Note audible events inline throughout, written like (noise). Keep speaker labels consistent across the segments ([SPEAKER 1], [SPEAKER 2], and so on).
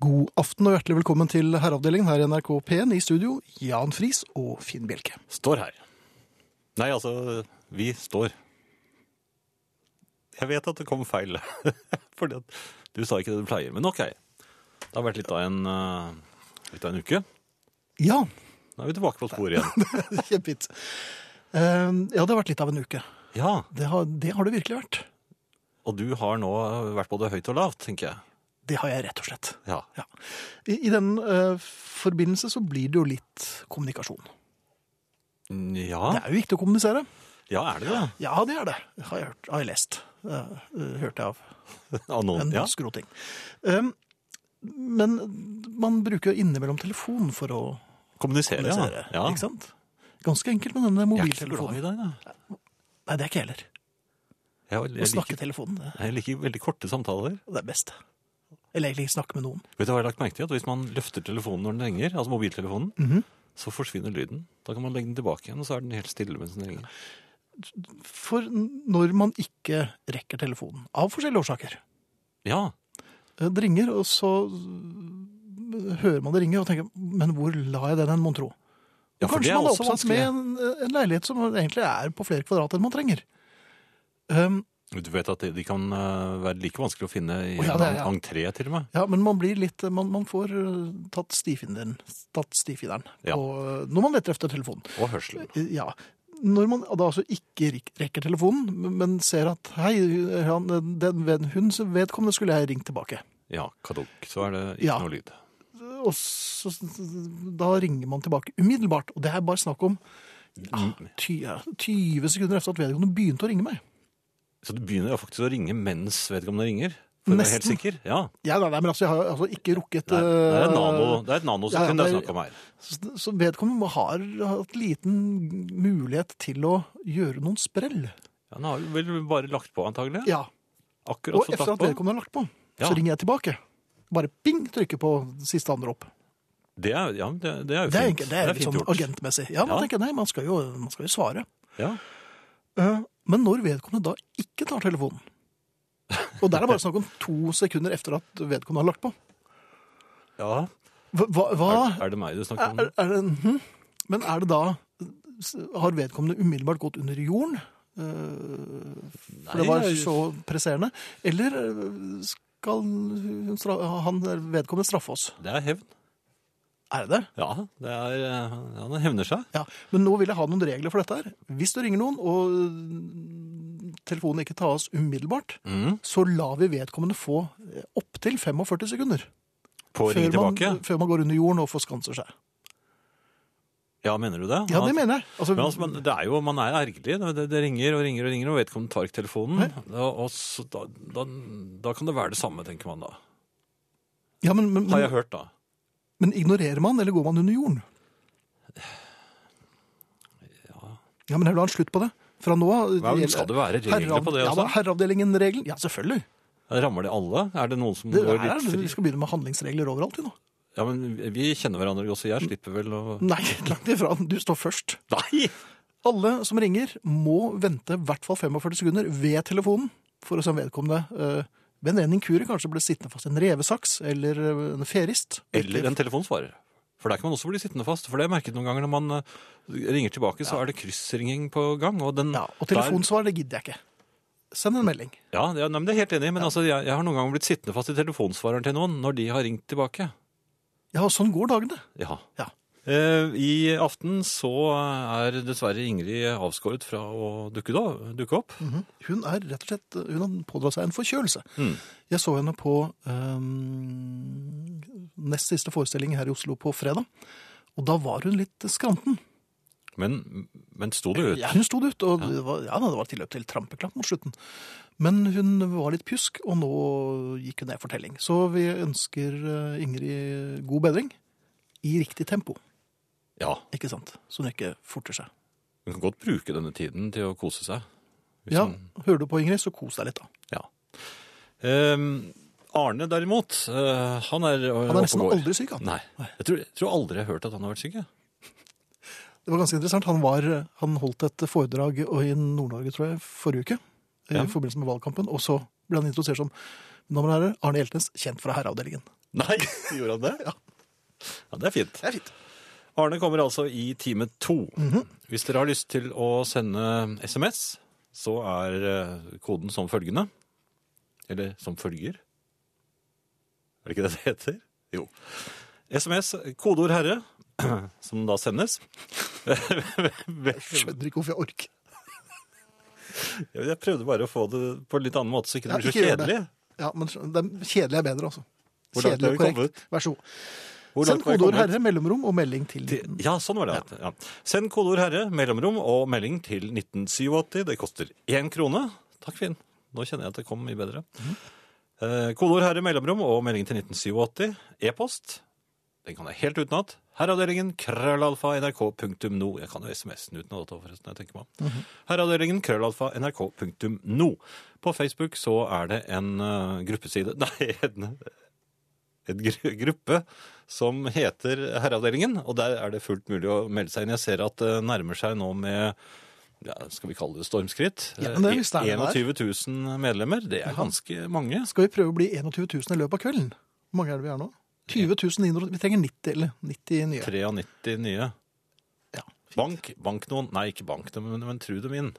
[SPEAKER 1] God aften og hjertelig velkommen til Herreavdelingen her i NRK P1 i studio, Jan Friis og Finn Bjelke.
[SPEAKER 2] Står her. Nei, altså, vi står. Jeg vet at det kom feil, (laughs) fordi at du sa ikke det du pleier, men ok. Det har vært litt av en, eh, litt av en uke.
[SPEAKER 1] Ja,
[SPEAKER 2] Nå er vi tilbake på sporet igjen.
[SPEAKER 1] (laughs) kjempefint. Eh, Ja, det har vært litt av en uke.
[SPEAKER 2] Ja,
[SPEAKER 1] Det har det, har det virkelig vært.
[SPEAKER 2] og du har nå vært både høyt og lavt, tenker jeg.
[SPEAKER 1] Det har jeg rett og slett.
[SPEAKER 2] Ja,
[SPEAKER 1] Ja. I, i den eh, forbindelse så blir det jo litt kommunikasjon.
[SPEAKER 2] Mm, ja,
[SPEAKER 1] Det er jo viktig å kommunisere.
[SPEAKER 2] ja er det det?
[SPEAKER 1] Ja, det er det. Har jeg, hørt, har jeg lest. Eh, eh, hørte jeg av
[SPEAKER 2] Av noen,
[SPEAKER 1] en
[SPEAKER 2] ja.
[SPEAKER 1] skroting. Um, men man bruker jo innimellom telefon for å
[SPEAKER 2] Kommunisere, ja.
[SPEAKER 1] kommunisere.
[SPEAKER 2] ja.
[SPEAKER 1] Ikke sant? Ganske enkelt med denne
[SPEAKER 2] Jeg er ikke så glad
[SPEAKER 1] mobiltelefonen.
[SPEAKER 2] i deg, da.
[SPEAKER 1] Nei, det er ikke jeg heller.
[SPEAKER 2] Jeg,
[SPEAKER 1] Å
[SPEAKER 2] jeg,
[SPEAKER 1] snakke
[SPEAKER 2] liker,
[SPEAKER 1] i telefonen, det-
[SPEAKER 2] jeg liker veldig korte samtaler.
[SPEAKER 1] det er best. Eller egentlig ikke snakke med noen.
[SPEAKER 2] Vet du hva jeg har lagt merke til? At hvis man løfter telefonen når den ringer, altså mobiltelefonen,
[SPEAKER 1] Mhm.
[SPEAKER 2] så forsvinner lyden. Da kan man legge den tilbake igjen, og så er den helt stille mens den ringer.
[SPEAKER 1] For n- når man ikke rekker telefonen, av forskjellige årsaker
[SPEAKER 2] Ja,
[SPEAKER 1] Eh, Det ringer, og så øh, hører man det ringer og tenker Men hvor la jeg den hen, mon tro?
[SPEAKER 2] ja for
[SPEAKER 1] Kanskje
[SPEAKER 2] det er
[SPEAKER 1] man er
[SPEAKER 2] også
[SPEAKER 1] oppsatt
[SPEAKER 2] vanskelig.
[SPEAKER 1] med en, eh, en leilighet som egentlig er på flere kvadrat enn man trenger. Um,
[SPEAKER 2] Du vet at de- de kan eh, være like vanskelig å finne i
[SPEAKER 1] Å, ja, det er,
[SPEAKER 2] en
[SPEAKER 1] ja.
[SPEAKER 2] entré til og med.
[SPEAKER 1] Ja, men man blir litt Man, man får eh, tatt stifinneren, tatt stifinneren
[SPEAKER 2] Ja.
[SPEAKER 1] på, eh, når man leter etter telefonen.
[SPEAKER 2] Og hørselen.
[SPEAKER 1] Eh, Ja. Når man da altså ikke rik- rekker telefonen, men- men ser at hei, han, den, ved- hun som vedkommende skulle jeg ringt tilbake.
[SPEAKER 2] Ja, kadokk, så er det ikke
[SPEAKER 1] Ja.
[SPEAKER 2] noe lyd.
[SPEAKER 1] Og så, da ringer man tilbake umiddelbart. Og det er bare snakk om ja,
[SPEAKER 2] Mm.
[SPEAKER 1] ty, ja, 20 sekunder efter at vedkommende begynte å ringe meg.
[SPEAKER 2] Så du begynner jo faktisk å ringe mens vedkommende ringer? For å være helt
[SPEAKER 1] Nesten.
[SPEAKER 2] sikker? Ja.
[SPEAKER 1] Ja, nei, nei, men altså, jeg har altså ikke rukket
[SPEAKER 2] Det er, det er, et, nano,
[SPEAKER 1] eh,
[SPEAKER 2] det er et
[SPEAKER 1] ja, ja,
[SPEAKER 2] nanosekund det er
[SPEAKER 1] det er-
[SPEAKER 2] snakk om her.
[SPEAKER 1] Så så vedkommende har hatt liten mulighet til å gjøre noen sprell.
[SPEAKER 2] Ja, den har vel bare lagt på, antagelig?
[SPEAKER 1] Ja,
[SPEAKER 2] Akkurat
[SPEAKER 1] Og
[SPEAKER 2] fått
[SPEAKER 1] etter
[SPEAKER 2] lagt
[SPEAKER 1] at
[SPEAKER 2] på?
[SPEAKER 1] vedkommende har lagt på,
[SPEAKER 2] Ja.
[SPEAKER 1] så ringer jeg tilbake. Bare ping, trykker på siste anrop.
[SPEAKER 2] Det er, ja, det, det er jo
[SPEAKER 1] Det er,
[SPEAKER 2] fint.
[SPEAKER 1] enkelt, det er, litt
[SPEAKER 2] fint
[SPEAKER 1] sånn
[SPEAKER 2] gjort.
[SPEAKER 1] agentmessig. Ja, man
[SPEAKER 2] Ja.
[SPEAKER 1] tenker nei, man skal jo, man skal jo svare.
[SPEAKER 2] Ja.
[SPEAKER 1] Eh, Men når vedkommende da ikke tar telefonen Og der er det bare snakk om to sekunder etter at vedkommende har lagt på.
[SPEAKER 2] ja.
[SPEAKER 1] Hva, hva,
[SPEAKER 2] Er,
[SPEAKER 1] hva-
[SPEAKER 2] er det meg du snakker om?
[SPEAKER 1] er, er det, mhm. Men er det da Har vedkommende umiddelbart gått under jorden? Eh, For det var
[SPEAKER 2] Nei,
[SPEAKER 1] så presserende. Eller øh, skal hun stra- han vedkommende straffe oss?
[SPEAKER 2] Det er hevn.
[SPEAKER 1] Er det det?
[SPEAKER 2] Ja, det er, eh, ja, den hevner seg.
[SPEAKER 1] Ja. Men nå vil jeg ha noen regler for dette her. Hvis du ringer noen, og øh, telefonen ikke tas umiddelbart, så lar vi vedkommende få eh, opptil 45 sekunder.
[SPEAKER 2] På å ringe
[SPEAKER 1] Før man,
[SPEAKER 2] tilbake.
[SPEAKER 1] før man går under jorden og forskanser seg.
[SPEAKER 2] Ja, mener du det?
[SPEAKER 1] Ja,
[SPEAKER 2] At-
[SPEAKER 1] det mener jeg. Altså,
[SPEAKER 2] Men altså, men det er jo, man er ergerlig. Det, det, det ringer og ringer og ringer, og vedkommende tar ikke telefonen. Og, og så, da, da, da kan det være det samme, tenker man da.
[SPEAKER 1] ja, men, men,
[SPEAKER 2] Har jeg
[SPEAKER 1] men,
[SPEAKER 2] hørt, da.
[SPEAKER 1] men ignorerer man, eller går man under jorden? Ja, men jeg vil ha en slutt på det. Fra nå av
[SPEAKER 2] Hva, skal det være regler
[SPEAKER 1] Herreav-
[SPEAKER 2] på det
[SPEAKER 1] Ja, da,
[SPEAKER 2] også?
[SPEAKER 1] herreavdelingen-regelen. Ja, selvfølgelig.
[SPEAKER 2] Rammer det alle? Er det noen som
[SPEAKER 1] Det
[SPEAKER 2] går
[SPEAKER 1] er,
[SPEAKER 2] litt fri?
[SPEAKER 1] vi skal begynne med handlingsregler overalt, vi nå.
[SPEAKER 2] Ja, men vi kjenner hverandre også. Jeg slipper vel å
[SPEAKER 1] Nei, (laughs) langt ifra. Du står først.
[SPEAKER 2] Nei!
[SPEAKER 1] Alle som ringer, må vente i hvert fall 45 sekunder ved telefonen for å se om vedkommende eh, ved en inkurie kanskje ble sittende fast i en revesaks eller eh, en ferist.
[SPEAKER 2] Eller en telefonsvarer. For der kan man også bli sittende fast. For det har jeg merket noen ganger når man eh, ringer tilbake, så er det kryssringing på gang. Og, den,
[SPEAKER 1] Ja, og
[SPEAKER 2] der-
[SPEAKER 1] telefonsvar, det gidder jeg ikke. Send en melding.
[SPEAKER 2] Ja, ja nei, men det er jeg helt enig i. Men altså, jeg, jeg har noen ganger blitt sittende fast i telefonsvareren til noen når de har ringt tilbake.
[SPEAKER 1] Ja, og sånn går dagene.
[SPEAKER 2] Ja.
[SPEAKER 1] Ja.
[SPEAKER 2] Eh, I aften så er dessverre Ingrid avskåret fra å dukke, da, dukke opp.
[SPEAKER 1] Mm. Hun er rett og slett, hun har pådratt seg en forkjølelse.
[SPEAKER 2] Mhm. Mm.
[SPEAKER 1] Jeg så henne på eh, nest siste forestilling her i Oslo på fredag. Og da var hun litt skranten.
[SPEAKER 2] Men, men sto det ut?
[SPEAKER 1] Ja, hun sto det ut, og det var, ja, da, det var tilløp til trampeklapp mot slutten. Men hun var litt pjusk, og nå gikk hun ned for telling. Så vi ønsker eh, Ingrid god bedring i riktig tempo,
[SPEAKER 2] Ja.
[SPEAKER 1] ikke sant? Så hun ikke forter seg.
[SPEAKER 2] Hun kan godt bruke denne tiden til å kose seg. Hvis
[SPEAKER 1] Ja,
[SPEAKER 2] hun-
[SPEAKER 1] hører du på Ingrid, så kos deg litt da.
[SPEAKER 2] ja. Ehm, Arne derimot, eh, han er
[SPEAKER 1] Han er nesten aldri syk, han.
[SPEAKER 2] Nei. Jeg tror, jeg tror aldri jeg har hørt at han har vært syk. jeg.
[SPEAKER 1] Det var ganske interessant. Han, var, han holdt et foredrag i Nord-Norge, tror jeg, forrige uke. I
[SPEAKER 2] Ja.
[SPEAKER 1] forbindelse med valgkampen. Og så ble han introdusert som «Mine damer og herrer, Arne Hjeltnes, kjent fra herreavdelingen.
[SPEAKER 2] Nei,
[SPEAKER 1] (laughs) Gjorde han det? Ja,
[SPEAKER 2] ja, det er fint.
[SPEAKER 1] det er fint.
[SPEAKER 2] Arne kommer altså i time to.
[SPEAKER 1] Mhm.
[SPEAKER 2] Hvis dere har lyst til å sende SMS, så er eh, koden som følgende. Eller som følger. Er det ikke det det heter? Jo. SMS, kodeord herre, (clears throat) som da sendes. (laughs)
[SPEAKER 1] Jeg skjønner ikke hvorfor jeg orker.
[SPEAKER 2] Jeg prøvde bare å få det på en litt annen måte, så ikke det
[SPEAKER 1] Ja,
[SPEAKER 2] blir så
[SPEAKER 1] ikke gjør det.
[SPEAKER 2] kjedelig.
[SPEAKER 1] Ja, men det er- kjedelig er bedre, altså.
[SPEAKER 2] Hvor langt
[SPEAKER 1] Kjedelig
[SPEAKER 2] har vi
[SPEAKER 1] og korrekt.
[SPEAKER 2] kommet?
[SPEAKER 1] Vær så god.
[SPEAKER 2] Hvor
[SPEAKER 1] Send
[SPEAKER 2] langt har vi
[SPEAKER 1] kodeord
[SPEAKER 2] kommet?
[SPEAKER 1] herre, mellomrom og melding til
[SPEAKER 2] Til- Ja, sånn var det. Ja. Send kodeord herre, mellomrom og melding til 1987. Det koster én krone. Takk, Finn. Nå kjenner jeg at det kom mye bedre. Eh, Kodeord herre, mellomrom og melding til 1987. E-post. Den kan jeg helt utenat. Herreavdelingen krøllalfa nrk.no. Jeg kan jo SMS-en utenat, også, forresten. jeg tenker meg om. Herreavdelingen krøllalfa nrk.no. På Facebook så er det en eh, gruppeside (laughs) Nei, en, en gru gruppe som heter Herreavdelingen, og der er det fullt mulig å melde seg inn. Jeg ser at det nærmer seg nå med ja, skal vi kalle det stormskritt?
[SPEAKER 1] Ja, men det er visst det er det
[SPEAKER 2] 21 000 medlemmer, det er ganske mange.
[SPEAKER 1] Skal vi prøve å bli 21 000 i løpet av kvelden? Hvor mange er det vi er nå? 20 900. Vi trenger 90 eller 90 nye.
[SPEAKER 2] 93 nye.
[SPEAKER 1] Ja.
[SPEAKER 2] Bank, bank noen. Nei, ikke bank dem, men, men tru dem inn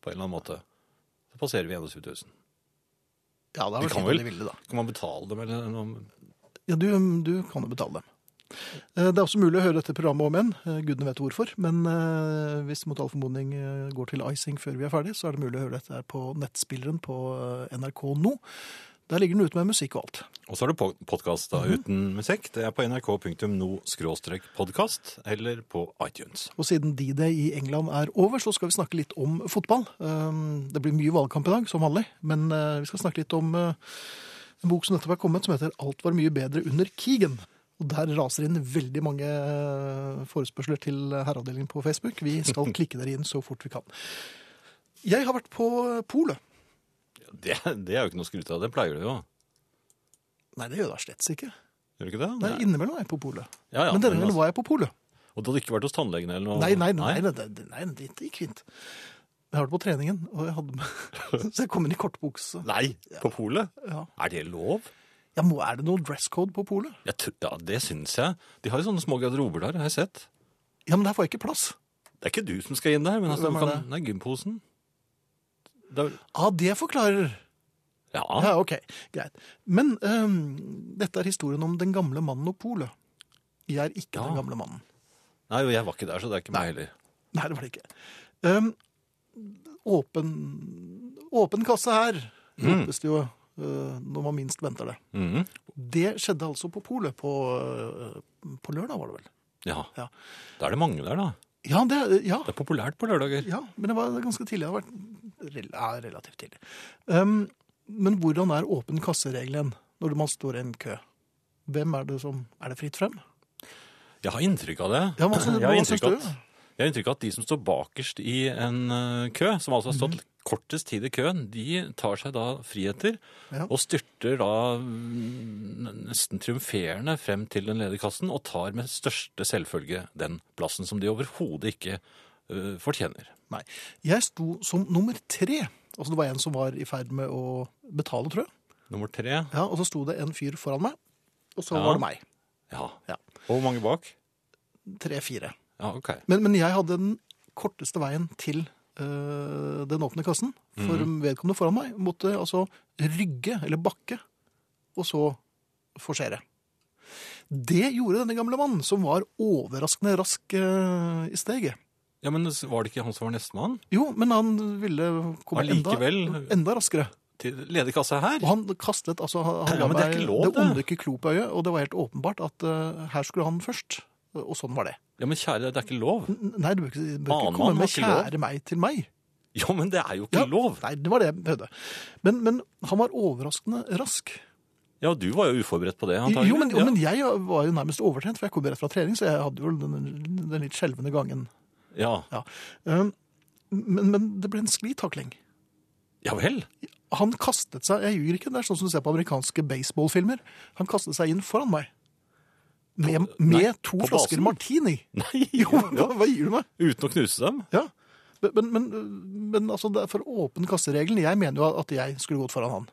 [SPEAKER 2] på en eller annen måte. Så passerer vi 21 000.
[SPEAKER 1] Ja, det har
[SPEAKER 2] Vi
[SPEAKER 1] vært
[SPEAKER 2] kan
[SPEAKER 1] helt
[SPEAKER 2] vel-
[SPEAKER 1] veldig ville, da.
[SPEAKER 2] Kan man betale dem eller noe?
[SPEAKER 1] Ja, du, du kan jo betale dem. Eh, Det er også mulig å høre dette programmet om igjen. Eh, Gudene vet hvorfor. Men eh, hvis mot all formodning eh, går til icing før vi er ferdig, så er det mulig å høre dette her på nettspilleren på eh, NRK nå. Der ligger den ute med musikk og alt.
[SPEAKER 2] Og så er det podkast
[SPEAKER 1] Mhm.
[SPEAKER 2] uten musikk. Det er på nrk.no-podkast eller på iTunes.
[SPEAKER 1] Og siden D-Day i England er over, så skal vi snakke litt om fotball. Um, Det blir mye valgkamp i dag, som vanlig, men uh, vi skal snakke litt om uh, en bok som nettopp er kommet, som heter 'Alt var mye bedre under krigen'. Og der raser inn veldig mange uh, forespørsler til herreavdelingen på Facebook. Vi
[SPEAKER 2] (laughs)
[SPEAKER 1] skal klikke dere inn så fort vi kan. Jeg har vært på eh, polet.
[SPEAKER 2] Det, det er jo ikke noe å skryte av. Det pleier du jo.
[SPEAKER 1] Nei, det gjør jeg slett ikke.
[SPEAKER 2] Gjør du ikke det?
[SPEAKER 1] Nei, innimellom er jeg på polet.
[SPEAKER 2] Ja, ja,
[SPEAKER 1] men denne
[SPEAKER 2] men
[SPEAKER 1] gangen
[SPEAKER 2] altså-
[SPEAKER 1] var jeg på polet.
[SPEAKER 2] Og du hadde ikke vært hos tannlegen eller noe?
[SPEAKER 1] Nei, nei, nei, det- det- nei, det gikk fint. Jeg har vært på treningen, og jeg hadde med (laughs) Så jeg kom inn i kortbukse.
[SPEAKER 2] Nei, På polet?
[SPEAKER 1] Ja.
[SPEAKER 2] Er det lov?
[SPEAKER 1] Ja, må, er det noe dresscode på polet?
[SPEAKER 2] Jeg tror, ja, det syns jeg. De har jo sånne små garderober der, har jeg sett.
[SPEAKER 1] Ja, men der får jeg ikke plass.
[SPEAKER 2] Det er ikke du som skal inn der, men altså,
[SPEAKER 1] Hvem
[SPEAKER 2] du
[SPEAKER 1] er
[SPEAKER 2] kan,
[SPEAKER 1] det?
[SPEAKER 2] nei, gymposen. Det er,
[SPEAKER 1] Ah, det forklarer.
[SPEAKER 2] ja,
[SPEAKER 1] Ja, ok, greit. Men øhm, dette er historien om den gamle mannen og polet. Jeg er ikke
[SPEAKER 2] Ja.
[SPEAKER 1] den gamle mannen.
[SPEAKER 2] Nei, jo, jeg var ikke der, så det er ikke meg heller.
[SPEAKER 1] Nei, det var det ikke. Øhm, åpen, åpen kasse her, ropes det jo øh, når man minst venter det.
[SPEAKER 2] Mhm.
[SPEAKER 1] Det skjedde altså på polet på, øh, på lørdag, var det vel?
[SPEAKER 2] Ja.
[SPEAKER 1] Ja.
[SPEAKER 2] Da er det mange der, da.
[SPEAKER 1] Ja, det, ja,
[SPEAKER 2] Det er populært på lørdager.
[SPEAKER 1] Ja, men det var ganske tidlig. Det har vært rel ja, relativt tidlig. Um, men hvordan er åpen kasseregelen når man står i en kø? Hvem er det som Er det fritt frem?
[SPEAKER 2] Jeg har inntrykk av det.
[SPEAKER 1] Ja, hva syns-
[SPEAKER 2] jeg, har
[SPEAKER 1] hva syns
[SPEAKER 2] inntrykk av
[SPEAKER 1] du?
[SPEAKER 2] at, jeg har inntrykk av at de som står bakerst i en eh, kø, som altså har stått
[SPEAKER 1] Mhm.
[SPEAKER 2] kortest tid i køen, de tar seg da friheter
[SPEAKER 1] Ja.
[SPEAKER 2] og styrter da mm, nesten triumferende frem til den ledige kassen og tar med største selvfølge den plassen som de overhodet ikke eh, fortjener.
[SPEAKER 1] Nei. Jeg sto som nummer tre. Altså, det var en som var i ferd med å betale, tror jeg.
[SPEAKER 2] Nummer tre.
[SPEAKER 1] Ja, og så sto det en fyr foran meg, og så
[SPEAKER 2] Ja.
[SPEAKER 1] var det meg.
[SPEAKER 2] Ja.
[SPEAKER 1] Ja.
[SPEAKER 2] Og hvor mange bak?
[SPEAKER 1] Tre-fire.
[SPEAKER 2] Ja, ok.
[SPEAKER 1] Men, men jeg hadde den korteste veien til øh, den åpne kassen. For
[SPEAKER 2] Mhm.
[SPEAKER 1] vedkommende foran meg måtte altså rygge, eller bakke, og så forsere. Det gjorde denne gamle mannen, som var overraskende rask øh, i steget.
[SPEAKER 2] Ja, men var det ikke han som var nestemann?
[SPEAKER 1] Jo, men han ville komme enda,
[SPEAKER 2] Allikevel- eh,
[SPEAKER 1] enda raskere.
[SPEAKER 2] Til ledig kasse her?
[SPEAKER 1] Og han kastet altså han
[SPEAKER 2] Ja,
[SPEAKER 1] ga
[SPEAKER 2] men det er
[SPEAKER 1] meg
[SPEAKER 2] ikke lov,
[SPEAKER 1] det
[SPEAKER 2] det.
[SPEAKER 1] onde kyklopøyet, og det var helt åpenbart at øh, her skulle han først. Og sånn var det.
[SPEAKER 2] Ja, men kjære, det er ikke lov.
[SPEAKER 1] N- Nei, du bør ikke, du bør
[SPEAKER 2] Annen
[SPEAKER 1] ikke komme
[SPEAKER 2] mann
[SPEAKER 1] med
[SPEAKER 2] har ikke lov.
[SPEAKER 1] 'kjære meg' til meg.
[SPEAKER 2] Jo, men det er jo ikke
[SPEAKER 1] Ja.
[SPEAKER 2] lov.
[SPEAKER 1] Nei, det var det jeg prøvde. Men, men han var overraskende rask.
[SPEAKER 2] Ja, du var jo uforberedt på det, antagelig.
[SPEAKER 1] Jo, men, jo,
[SPEAKER 2] Ja.
[SPEAKER 1] men jeg var jo nærmest overtrent, for jeg kom rett fra trening, så jeg hadde jo den, den litt skjelvende gangen.
[SPEAKER 2] ja.
[SPEAKER 1] Ja. Um, Men, men det ble en sklitakling.
[SPEAKER 2] ja vel.
[SPEAKER 1] (laughs) Han kastet seg Jeg ljuger ikke, det er sånn som du ser på amerikanske baseballfilmer. Han kastet seg inn foran meg. Med, med
[SPEAKER 2] nei,
[SPEAKER 1] to
[SPEAKER 2] på
[SPEAKER 1] flasker
[SPEAKER 2] basen?
[SPEAKER 1] martini.
[SPEAKER 2] Nei,
[SPEAKER 1] Jo, hva, (laughs) hva gir du meg?
[SPEAKER 2] uten å knuse dem.
[SPEAKER 1] Ja. Men, men, men, men altså, det er for åpen kasseregelen. Jeg mener jo at jeg skulle gått foran han.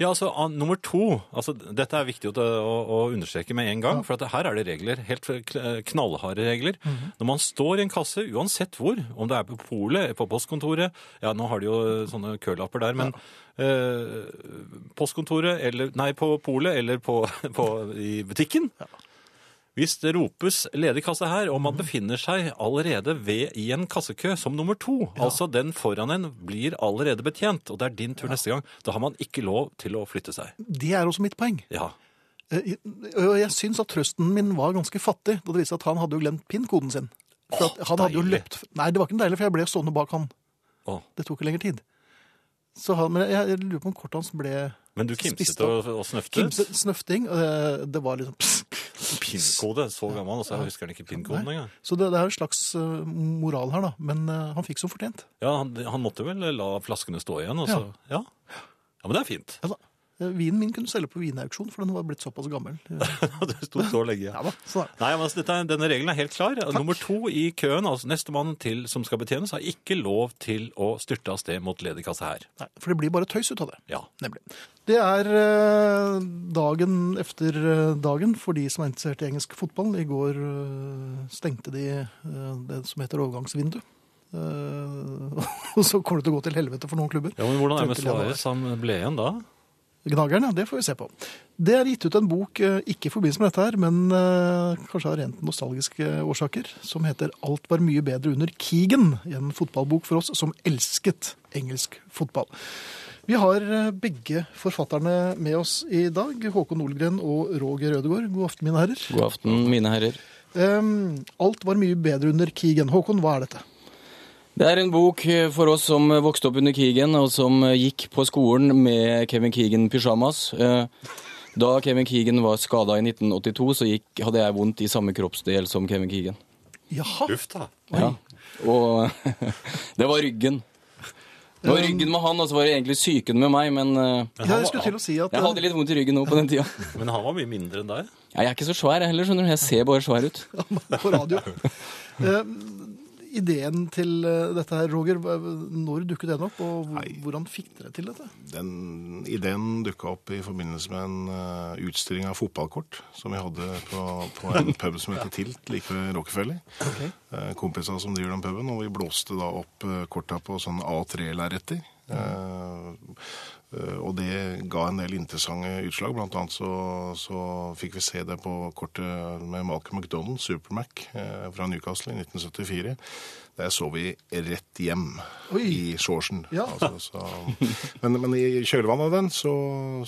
[SPEAKER 2] Ja, altså an, nummer to. Altså, dette er viktig å, å, å understreke med en gang, for at her er det regler. Helt kl- knallharde regler.
[SPEAKER 1] Mhm.
[SPEAKER 2] Når man står i en kasse, uansett hvor, om det er på polet, på postkontoret Ja, nå har de jo sånne kølapper der, men eh, postkontoret eller Nei, på polet eller på, (laughs) på, i butikken. Hvis det ropes 'ledig kasse her', og man befinner seg allerede ved, i en kassekø som nummer to, altså den foran en blir allerede betjent, og det er din tur neste gang, da har man ikke lov til å flytte seg.
[SPEAKER 1] Det er også mitt poeng.
[SPEAKER 2] Ja.
[SPEAKER 1] Eh, Og jeg syns at trøsten min var ganske fattig da det viste seg at han hadde jo glemt PIN-koden sin. For
[SPEAKER 2] Åh,
[SPEAKER 1] at han hadde jo
[SPEAKER 2] deilig.
[SPEAKER 1] løpt Nei, det var ikke noe deilig, for jeg ble stående bak han.
[SPEAKER 2] Å.
[SPEAKER 1] Det tok ikke lenger tid. Så han, men jeg, jeg lurer på om kortet hans ble
[SPEAKER 2] Men du kimset
[SPEAKER 1] Spist
[SPEAKER 2] og, og snøftet.
[SPEAKER 1] kimse, snøfting. eh, Det var liksom
[SPEAKER 2] Pin-kode, så gammel, og så husker han ikke pin-koden
[SPEAKER 1] Nei.
[SPEAKER 2] engang.
[SPEAKER 1] Så det, det er en slags eh, moral her, da. Men eh, han fikk som fortjent.
[SPEAKER 2] Ja, han, han måtte vel la flaskene stå igjen, og så ja. ja. men det er
[SPEAKER 1] (laughs)
[SPEAKER 2] fint.
[SPEAKER 1] Ja da. Eh, Vinen min kunne selge på vinauksjon, for den var blitt såpass (laughs) gammel. Eh,
[SPEAKER 2] det sto så lenge.
[SPEAKER 1] Ja da, så da.
[SPEAKER 2] Nei, men altså, dette, er- denne regelen er helt klar. Nummer to i køen, altså nestemann til som skal betjenes, har ikke lov til å styrte av sted mot ledig kasse her.
[SPEAKER 1] Nei, for det blir bare tøys ut av det.
[SPEAKER 2] Ja.
[SPEAKER 1] Nemlig. Det er eh, dagen efter eh, dagen for de som er interessert i engelsk fotball. I går eh, stengte de eh, det som heter overgangsvindu. Eh, (laughs) og så kommer det til å gå til helvete for noen klubber.
[SPEAKER 2] ja, men Hvordan er det med
[SPEAKER 1] 30. januar.
[SPEAKER 2] Suarez? Han ble igjen da?
[SPEAKER 1] Gnageren, ja, det får vi se på. Det er gitt ut en bok, eh, ikke i forbindelse med dette her, men eh, kanskje av rent nostalgiske eh, årsaker, som heter 'Alt var mye bedre under krigen'. En fotballbok for oss som elsket engelsk fotball. Vi har eh, begge forfatterne med oss i dag. Håkon Olgren og Roger Ødegaard. God aften, mine herrer.
[SPEAKER 3] God aften, mine herrer.
[SPEAKER 1] Em, 'Alt var mye bedre under krigen'. Håkon, hva er dette?
[SPEAKER 3] Det er en bok eh, for oss som vokste opp under krigen, og som eh, gikk på skolen med Kevin Keegan-pysjamas. Da Kevin Keegan var skada i 1982, så gikk, hadde jeg vondt i samme kroppsdel som Kevin Keegan.
[SPEAKER 1] Jaha.
[SPEAKER 2] Uff da.
[SPEAKER 3] Ja. Og (laughs) det var ryggen. Det var ryggen med han, og så var det egentlig psyken med meg, men eh,
[SPEAKER 1] Ja, jeg skulle til å si at
[SPEAKER 3] jeg hadde
[SPEAKER 1] eh,
[SPEAKER 3] litt vondt i ryggen nå på den tida.
[SPEAKER 1] (laughs)
[SPEAKER 2] Men han var mye mindre enn deg.
[SPEAKER 3] Jeg er ikke så svær jeg heller, skjønner du. Jeg ser bare svær ut.
[SPEAKER 1] (laughs) på radio. Em, ideen til eh, dette her, Roger, hva- når dukket den opp, og hvor- hvordan fikk dere til dette?
[SPEAKER 4] Den ideen dukka opp i forbindelse med en eh, utstilling av fotballkort som vi hadde på, på en pub som heter Tilt like ved Rockefeller. Eh, kompiser som driver den puben, og vi blåste da opp eh, korta på sånn A3-lerreter. Eh, eh, og det ga en del interessante utslag. Blant annet så, så fikk vi se det på kortet med Malcolm McDonald, Supermac, eh, fra Newcastle i 1974. Der så vi rett hjem
[SPEAKER 1] Oi.
[SPEAKER 4] i shortsen.
[SPEAKER 1] Ja.
[SPEAKER 4] Altså, så, men, men i kjølvannet av den så,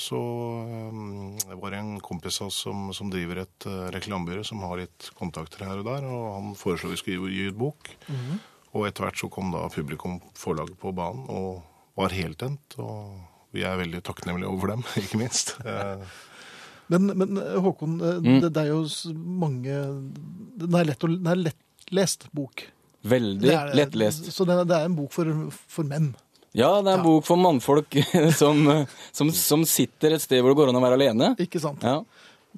[SPEAKER 4] så um, det var det en kompis av oss som, som driver et uh, reklamebyrå som har litt kontakter her og der, og han foreslo vi skulle gi ut bok. Og etter hvert så kom da publikum forlaget på banen og var heltent, og vi er veldig takknemlige over dem, (laughs) ikke minst. Eh,
[SPEAKER 1] Men, men eh, Håkon, eh,
[SPEAKER 3] Mm.
[SPEAKER 1] det, det er jo s- mange Den er lett, å, den er lettlest bok. Det
[SPEAKER 3] Veldig
[SPEAKER 1] er-
[SPEAKER 3] lettlest.
[SPEAKER 1] Så det, er- det er en bok for, for menn.
[SPEAKER 3] Ja, det er en bok for mannfolk (laughs) som, som, som sitter et sted hvor det går an å være alene.
[SPEAKER 1] Ikke sant?
[SPEAKER 3] Ja.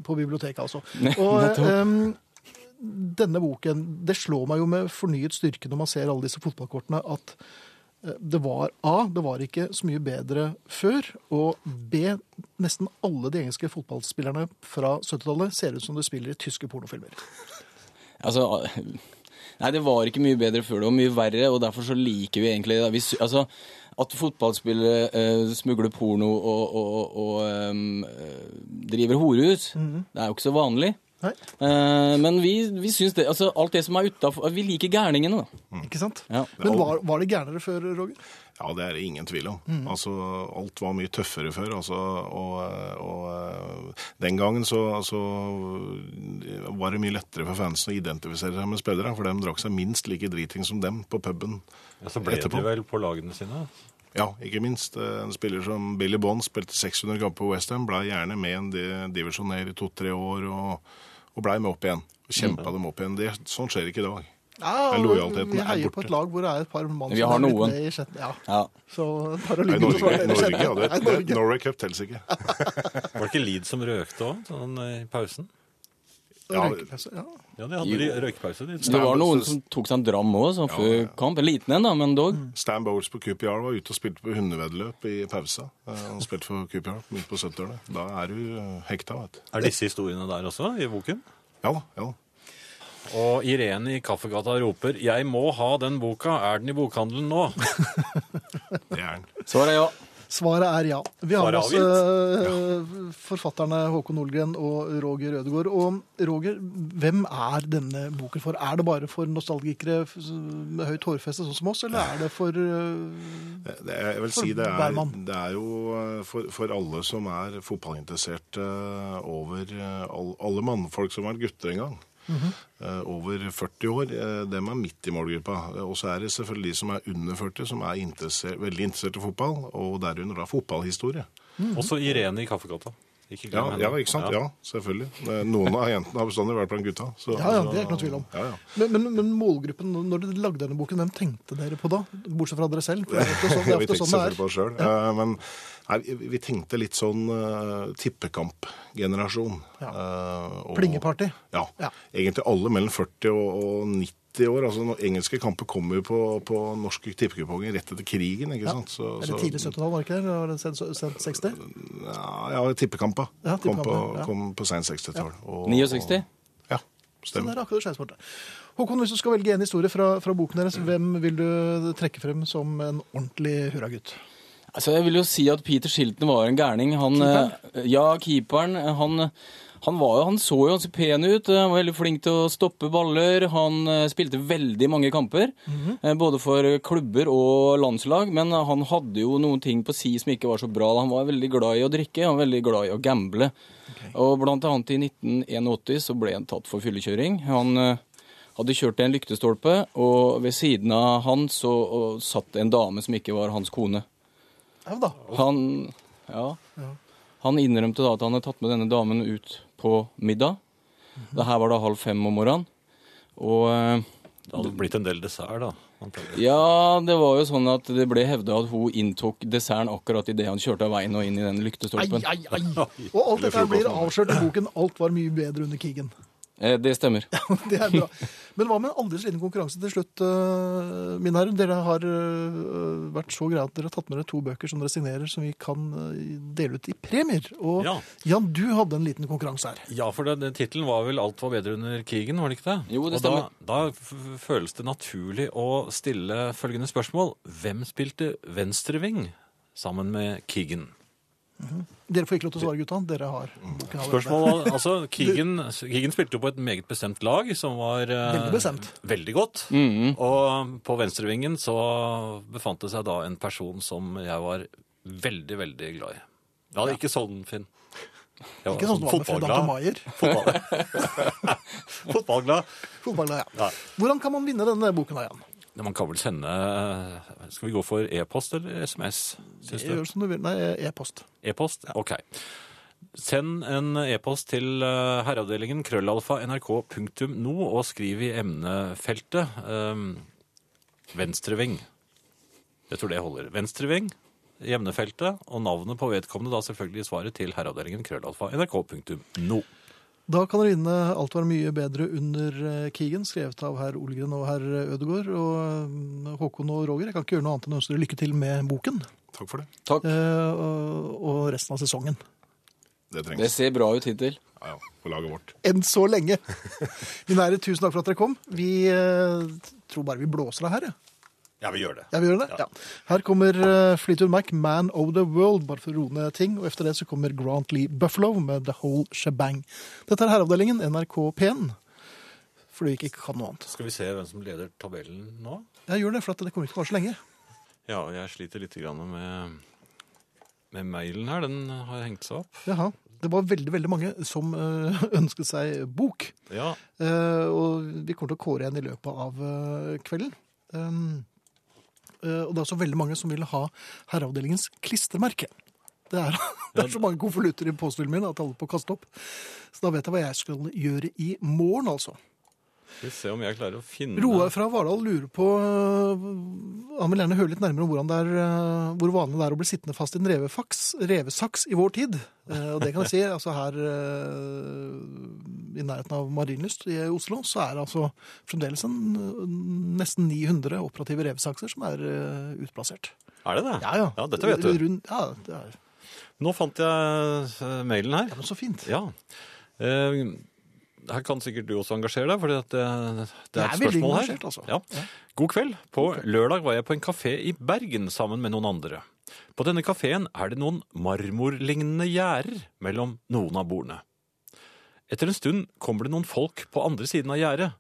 [SPEAKER 1] På biblioteket,
[SPEAKER 3] (laughs)
[SPEAKER 1] altså.
[SPEAKER 3] Ne-
[SPEAKER 1] Og
[SPEAKER 3] nettopp.
[SPEAKER 1] em, denne boken Det slår meg jo med fornyet styrke når man ser alle disse fotballkortene, at eh, det var A. Det var ikke så mye bedre før. Og B. Nesten alle de engelske fotballspillerne fra 70-tallet ser ut som de spiller i tyske pornofilmer.
[SPEAKER 3] Altså, nei, det var ikke mye bedre før. Det var mye verre, og derfor så liker vi egentlig det. Vi, sy- altså, at fotballspillere eh, smugler porno og, og, og em, eh, driver horehus, det er jo ikke så vanlig.
[SPEAKER 1] Nei,
[SPEAKER 3] Eh, men vi, vi syns det Altså, alt det som er utafor Vi liker gærningene, da.
[SPEAKER 1] ikke sant?
[SPEAKER 3] Mm. Ja.
[SPEAKER 1] Men var, var det gærnere før, Roger?
[SPEAKER 4] Ja, det er det ingen tvil om. Altså, alt var mye tøffere før. Altså, og, og eh, den gangen så, så eh, var det mye lettere for fansen å identifisere seg med spillere, for de drakk seg minst like driting som dem på puben.
[SPEAKER 2] Ja, så ble
[SPEAKER 4] Etterpå.
[SPEAKER 2] de vel på lagene sine.
[SPEAKER 4] Ja, ikke minst. eh, En spiller som Billy Bond spilte 600 kamper på Westham, ble gjerne med en di- divisjon ned i to-tre år, og, og blei med opp igjen. Og Kjempa dem opp igjen. Det, sånn skjer ikke i dag.
[SPEAKER 1] Ja,
[SPEAKER 4] Nei, lojaliteten
[SPEAKER 1] vi
[SPEAKER 4] er
[SPEAKER 1] heier på
[SPEAKER 4] borte.
[SPEAKER 1] et lag hvor det er et par mann
[SPEAKER 3] Vi
[SPEAKER 1] som
[SPEAKER 3] har
[SPEAKER 1] er litt
[SPEAKER 3] noen.
[SPEAKER 1] ned i skjetten. Ja.
[SPEAKER 3] Ja.
[SPEAKER 1] Så bare
[SPEAKER 4] Nei,
[SPEAKER 1] ligger
[SPEAKER 4] Norge, Norge, ja, det, det, Norway Cup telles ikke.
[SPEAKER 2] Var det ikke Leed som røkte òg, sånn i eh, pausen?
[SPEAKER 4] Ja,
[SPEAKER 1] Røykepause, altså. ja.
[SPEAKER 2] Ja, de hadde rø- røykepause. De.
[SPEAKER 3] Det var noen som tok seg en dram òg, sånn før kamp. En liten en, da, men dog.
[SPEAKER 4] Stan Bowles på QPR var ute og spilte på hundeveddeløp i pausa. Eh, Han spilte for QPR midt på 70-årene. Da er du eh, hekta, vet du.
[SPEAKER 2] Er disse historiene der også i boken?
[SPEAKER 4] Ja da. ja da.
[SPEAKER 2] Og Irene i Kaffegata roper 'Jeg må ha den boka, er den i bokhandelen nå?' (laughs)
[SPEAKER 4] Det er han.
[SPEAKER 3] Svaret er ja.
[SPEAKER 1] Svaret er ja. Vi har
[SPEAKER 2] Svaret
[SPEAKER 1] med
[SPEAKER 2] er
[SPEAKER 1] oss eh, forfatterne Håkon Olgren og Roger Ødegaard. Og Roger, hvem er denne boken for? Er det bare for nostalgikere f- med høyt hårfeste sånn som oss, eller er det for eh,
[SPEAKER 4] Det er, jeg vil
[SPEAKER 1] For
[SPEAKER 4] si det
[SPEAKER 1] hver
[SPEAKER 4] er,
[SPEAKER 1] mann.
[SPEAKER 4] det er jo eh, for, for alle som er fotballinteresserte eh, over eh, all, Alle mannfolk som har vært gutter en gang.
[SPEAKER 1] Mhm.
[SPEAKER 4] eh, Over 40 år. eh, Dem er midt i målgruppa. Eh, Og så er det selvfølgelig de som er under 40, som er interesser- veldig interessert i fotball, og derunder da fotballhistorie.
[SPEAKER 2] Også Irene i Kaffegata. Ikke glem
[SPEAKER 4] Ja,
[SPEAKER 2] henne.
[SPEAKER 4] ja, ikke sant? Ja, selvfølgelig. Eh, Noen av jentene har bestandig vært blant gutta. Så,
[SPEAKER 1] Ja, ja, det er ikke noe tvil om.
[SPEAKER 4] Ja, ja.
[SPEAKER 1] Men, men, men målgruppen, når dere lagde denne boken, hvem tenkte dere på da? Bortsett fra dere selv, for det er ofte sånn det er.
[SPEAKER 4] (laughs)
[SPEAKER 1] Ofte
[SPEAKER 4] vi tenkte
[SPEAKER 1] sånn
[SPEAKER 4] selvfølgelig
[SPEAKER 1] det
[SPEAKER 4] på
[SPEAKER 1] er.
[SPEAKER 4] oss sjøl. Men nei, vi- vi tenkte litt sånn eh, tippekampgenerasjon.
[SPEAKER 1] Ja.
[SPEAKER 4] Eh, og-
[SPEAKER 1] Plingeparty.
[SPEAKER 4] Ja.
[SPEAKER 1] Ja.
[SPEAKER 4] Egentlig alle mellom 40 og, og 90 år. altså når Engelske kamper kommer jo på, på norske tippekuponger rett etter krigen. ikke sant? Så,
[SPEAKER 1] Eller tidlig 70-tall, var det ikke det? Eller var det sent- sent 60?
[SPEAKER 4] Ja, ja tippekampa
[SPEAKER 1] Ja,
[SPEAKER 4] kom på,
[SPEAKER 1] tippekamper, ja.
[SPEAKER 4] kom på sent 60-tall. og-
[SPEAKER 3] 69?
[SPEAKER 1] Så
[SPEAKER 4] Ja,
[SPEAKER 1] det
[SPEAKER 4] stemmer.
[SPEAKER 1] Sånn er akkurat skjevsporet. Håkon, hvis du skal velge en historie fra, fra boken deres, hvem vil du trekke frem som en ordentlig hurragutt?
[SPEAKER 3] Altså, jeg vil jo si at Peter Shilton var en gærning. Han, eh, ja, keeperen. eh, Han, han, var, jo- han så jo ganske pen ut. eh, Han var veldig flink til å stoppe baller. Han eh, spilte veldig mange kamper, eh, både for klubber og landslag. Men eh, han hadde jo noen ting på si som ikke var så bra. Han var veldig glad i å drikke, han var veldig glad i å gamble. Og blant annet i 1981 så ble han tatt for fyllekjøring. Han... eh, hadde kjørt til en lyktestolpe, og ved siden av han så og satt en dame som ikke var hans kone.
[SPEAKER 1] Ja da.
[SPEAKER 3] Han, ja. han innrømte da at han hadde tatt med denne damen ut på middag. Det her var da halv fem om morgenen. Og eh,
[SPEAKER 2] Det hadde blitt en del dessert, da. antagelig.
[SPEAKER 3] ja, det var jo sånn at det ble hevda at hun inntok desserten akkurat idet han kjørte av veien og inn i den
[SPEAKER 1] Ai,
[SPEAKER 3] lyktestolpen.
[SPEAKER 1] ai, ai. Og alt dette her blir avslørt i boken 'Alt var mye bedre under krigen'. (laughs)
[SPEAKER 3] Eh, Det stemmer.
[SPEAKER 1] Det er bra. Men hva med en aldri så liten konkurranse til slutt, eh, mine herrer? Dere har eh, vært så greie at dere har tatt med dere to bøker som dere signerer, som vi kan eh, dele ut i premier. Og
[SPEAKER 2] Ja.
[SPEAKER 1] Jan, du hadde en liten konkurranse her.
[SPEAKER 2] Ja, for det- det- tittelen var vel 'Alt var bedre under krigen', var det ikke det?
[SPEAKER 3] Jo,
[SPEAKER 2] Og
[SPEAKER 3] det
[SPEAKER 2] da, da f- f- føles det naturlig å stille følgende spørsmål. Hvem spilte venstreving sammen med Keegan?
[SPEAKER 1] Dere får ikke lov til å svare, gutta. Dere har boken allerede.
[SPEAKER 2] Spørsmålet, altså, Keegan, Keegan spilte jo på et meget bestemt lag, som var eh,
[SPEAKER 1] Veldig bestemt.
[SPEAKER 2] veldig godt. Og um, på venstrevingen så befant det seg da en person som jeg var veldig, veldig glad i. Ja, det er ikke sånn, Finn. Jeg var
[SPEAKER 1] Ikke sånn som var med Fredante Maier.
[SPEAKER 2] Fotball. Fotballglad.
[SPEAKER 1] Fotballglad, ja.
[SPEAKER 2] Ja.
[SPEAKER 1] Hvordan kan man vinne denne boken, da, Jan?
[SPEAKER 2] Men Man kan vel sende eh, Skal vi gå for e-post eller SMS? Syns du?
[SPEAKER 1] Gjør som du vil. Nei, e-post.
[SPEAKER 2] E-post? Ok. Send en e-post til eh, herreavdelingen krøllalfa nrk.no og skriv i emnefeltet ehm, venstreving. Jeg tror det holder. Venstreving i emnefeltet, og navnet på vedkommende da selvfølgelig i svaret til herreavdelingen krøllalfa nrk.no.
[SPEAKER 1] Da kan dere vinne Alt var mye bedre under eh, krigen, skrevet av herr Olgren og herr Ødegård. Og eh, Håkon og Roger, jeg kan ikke gjøre noe annet enn å ønske dere lykke til med boken.
[SPEAKER 4] Takk for det.
[SPEAKER 1] eh,
[SPEAKER 3] Takk.
[SPEAKER 1] Og og resten av sesongen.
[SPEAKER 4] Det
[SPEAKER 3] Det
[SPEAKER 4] trengs.
[SPEAKER 3] ser bra ut hittil.
[SPEAKER 4] Ja, ja, på laget vårt.
[SPEAKER 1] Enn så
[SPEAKER 2] (laughs)
[SPEAKER 1] lenge. Mine ære, tusen takk for at dere kom. Vi eh, tror bare vi blåser av her, jeg.
[SPEAKER 2] Ja, vi gjør det.
[SPEAKER 1] Ja, vi gjør det? Ja. Her kommer eh, Fleetwood Mac, 'Man of the World', bare for å roe ned ting. Og etter det så kommer Grant Lee Buffalo med 'The Whole Shebang'. Dette er Herreavdelingen, NRK P1. Fordi vi ikke kan noe annet.
[SPEAKER 2] Skal vi se hvem som leder tabellen nå?
[SPEAKER 1] Jeg gjør det, for at det kommer ikke til å vare så lenge.
[SPEAKER 2] Ja, jeg sliter litt grann med, med mailen her. Den har hengt seg opp.
[SPEAKER 1] Jaha. Det var veldig veldig mange som eh, (laughs) ønsket seg bok.
[SPEAKER 2] Ja,
[SPEAKER 1] Eh, og vi kommer til å kåre en i løpet av eh, kvelden. Um, eh, og det er også veldig mange som vil ha Herreavdelingens klistremerke. Det er, (laughs) det er så mange konvolutter i påstillingen min at alle på å kaste opp. Så da vet jeg hva jeg skal gjøre i morgen, altså.
[SPEAKER 2] Skal vi se om jeg klarer å finne
[SPEAKER 1] Roar fra Vardal lurer på øh, Han vil gjerne høre litt nærmere om hvordan det er, øh, hvor vanlig det er å bli sittende fast i en revefaks, revesaks i vår tid. Eh, Og det kan jeg si, altså her øh, i nærheten av Marienlyst i Oslo, så er det altså fremdeles en, øh, nesten 900 operative revesakser som er øh, utplassert.
[SPEAKER 2] Er det det?
[SPEAKER 1] Ja, ja.
[SPEAKER 2] Ja, dette vet du.
[SPEAKER 1] Rund, ja, det er,
[SPEAKER 2] Nå fant jeg eh, mailen her.
[SPEAKER 1] ja, men så fint.
[SPEAKER 2] Ja. Eh, her kan sikkert du også engasjere deg, for det, det, det er
[SPEAKER 1] Jeg
[SPEAKER 2] et
[SPEAKER 1] er veldig
[SPEAKER 2] spørsmål her.
[SPEAKER 1] engasjert, altså.
[SPEAKER 2] Ja. God kveld. På lørdag var jeg på en kafé i Bergen sammen med noen andre. På denne kafeen er det noen marmorlignende gjerder mellom noen av bordene. Etter en stund kommer det noen folk på andre siden av gjerdet.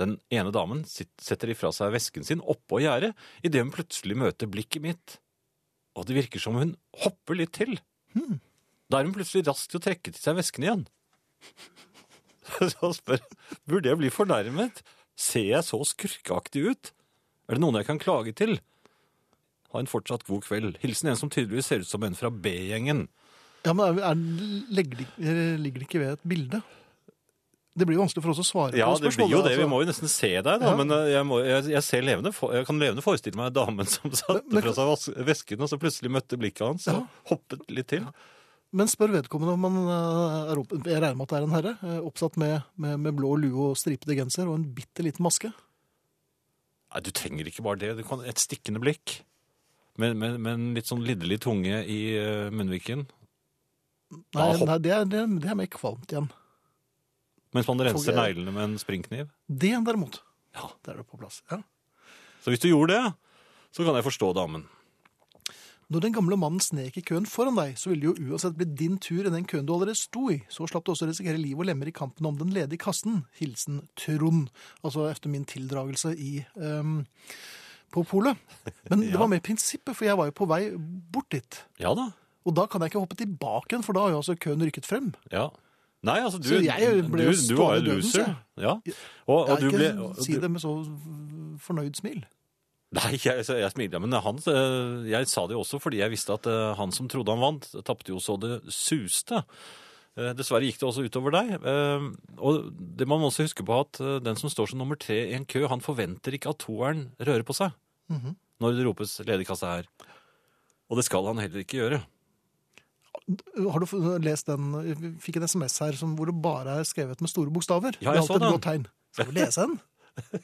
[SPEAKER 2] Den ene damen sitt- setter ifra seg vesken sin oppå gjerdet idet hun plutselig møter blikket mitt, og det virker som hun hopper litt til. Hmm. Da er hun plutselig rask til å trekke til seg vesken igjen. (laughs) Så han spør burde jeg bli fornærmet. Ser jeg så skurkeaktig ut? Er det noen jeg kan klage til? Ha en fortsatt god kveld. Hilsen en som tydeligvis ser ut som en fra B-gjengen.
[SPEAKER 1] Ja, men er, er, legger, det- eh, ligger det ikke ved et bilde? Det blir jo vanskelig for oss å svare
[SPEAKER 2] Ja,
[SPEAKER 1] på
[SPEAKER 2] det blir
[SPEAKER 1] spørsmålet.
[SPEAKER 2] jo det. Vi
[SPEAKER 1] altså.
[SPEAKER 2] må jo nesten se deg, da.
[SPEAKER 1] Ja.
[SPEAKER 2] Men eh, jeg, må, jeg, jeg, ser levende, for- jeg kan levende forestille meg damen som satte
[SPEAKER 1] men-
[SPEAKER 2] fra seg vas- vesken, og så plutselig møtte blikket hans og hoppet litt til.
[SPEAKER 1] Men spør vedkommende om han eh, er opp... Jeg regner med at det er en herre. eh, Oppsatt med, med, med blå lue og stripete genser og en bitte liten maske.
[SPEAKER 2] Nei, du trenger ikke bare det. Du kan et stikkende blikk. Men, men, men litt sånn lidderlig tunge i eh, munnviken.
[SPEAKER 1] Nei,
[SPEAKER 2] Da hopp-
[SPEAKER 1] nei det, er, det, er, det er mer kvalmt igjen.
[SPEAKER 2] Mens man renser
[SPEAKER 1] Toget.
[SPEAKER 2] neglene med en springkniv.
[SPEAKER 1] Det derimot,
[SPEAKER 2] Ja.
[SPEAKER 1] der er det på plass. Ja.
[SPEAKER 2] Så hvis du gjorde det, så kan jeg forstå damen.
[SPEAKER 1] Når den gamle mannen snek i køen foran deg, så ville det jo uansett bli din tur i den køen du allerede sto i. Så slapp du også risikere liv og lemmer i kampen om den ledige kassen. Hilsen Trond. Altså efter min tildragelse i ehm, på polet. Men det var mer prinsippet, for jeg var jo på vei bort dit.
[SPEAKER 2] Ja da.
[SPEAKER 1] Og da kan jeg ikke hoppe tilbake igjen, for da har jo altså køen rykket frem.
[SPEAKER 2] Ja. Nei, altså, du,
[SPEAKER 1] Så jeg ble jo
[SPEAKER 2] du, du var
[SPEAKER 1] stående i
[SPEAKER 2] jo
[SPEAKER 1] døden,
[SPEAKER 2] loser.
[SPEAKER 1] sier
[SPEAKER 2] Ja. Og, og
[SPEAKER 1] Jeg
[SPEAKER 2] du
[SPEAKER 1] kan
[SPEAKER 2] ble
[SPEAKER 1] ikke
[SPEAKER 2] og
[SPEAKER 1] si
[SPEAKER 2] du,
[SPEAKER 1] det med så fornøyd smil.
[SPEAKER 2] (laughs) Nei, jeg, så jeg smilte, men han, eh, jeg sa det jo også fordi jeg visste at eh, han som trodde han vant, tapte jo så det suste. Eh, Dessverre gikk det også utover deg. Eh, Og det man må også huske på at eh, den som står som nummer tre i en kø, han forventer ikke at toeren rører på seg
[SPEAKER 1] Mhm.
[SPEAKER 2] når det ropes ledig kasse her. Og det skal han heller ikke gjøre.
[SPEAKER 1] Har du fått- lest den Jeg fikk en SMS her som, hvor det bare er skrevet med store bokstaver.
[SPEAKER 2] Ja,
[SPEAKER 1] Det er
[SPEAKER 2] jeg
[SPEAKER 1] alltid
[SPEAKER 2] så den.
[SPEAKER 1] et godt tegn. Skal vi lese den?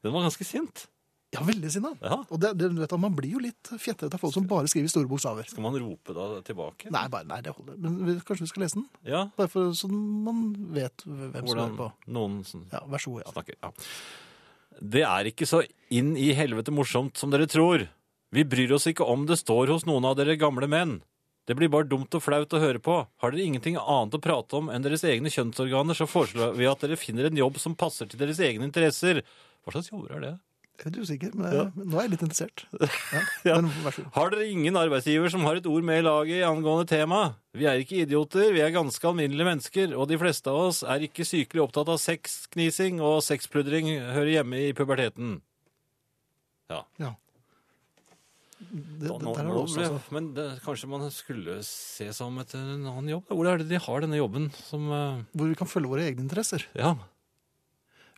[SPEAKER 2] Den var ganske sint.
[SPEAKER 1] Ja, veldig sinna.
[SPEAKER 2] Ja.
[SPEAKER 1] Og det, det, du vet at man blir jo litt fjettete av folk som bare skriver store bokstaver.
[SPEAKER 2] Skal man rope da tilbake?
[SPEAKER 1] Nei, bare, nei, det holder. Men vi, kanskje vi skal lese den?
[SPEAKER 2] Ja,
[SPEAKER 1] Bare for, så man vet hvem som
[SPEAKER 2] hvordan
[SPEAKER 1] hører på.
[SPEAKER 2] noen som
[SPEAKER 1] Ja, vær så god. Ja.
[SPEAKER 2] snakker. Ja. Det er ikke så inn i helvete morsomt som dere tror. Vi bryr oss ikke om det står hos noen av dere gamle menn. Det blir bare dumt og flaut å høre på. Har dere ingenting annet å prate om enn deres egne kjønnsorganer, så foreslår vi at dere finner en jobb som passer til deres egne interesser. Hva slags jobber er det?
[SPEAKER 1] Jeg er litt usikker, men jeg, nå er jeg litt interessert.
[SPEAKER 2] (laughs)
[SPEAKER 1] Ja, Men vær så god.
[SPEAKER 2] Har dere ingen arbeidsgiver som har et ord med i laget angående tema? Vi er ikke idioter, vi er ganske alminnelige mennesker, og de fleste av oss er ikke sykelig opptatt av sexknising, og sexpludring hører hjemme i puberteten. Ja.
[SPEAKER 1] Ja. Det, det,
[SPEAKER 2] Nå, nå,
[SPEAKER 1] der er det også,
[SPEAKER 2] ble-
[SPEAKER 1] altså.
[SPEAKER 2] Men det, kanskje man skulle se seg om etter en annen jobb? da? Hvor er det de har denne jobben som eh,
[SPEAKER 1] Hvor vi kan følge våre egne interesser.
[SPEAKER 2] Ja.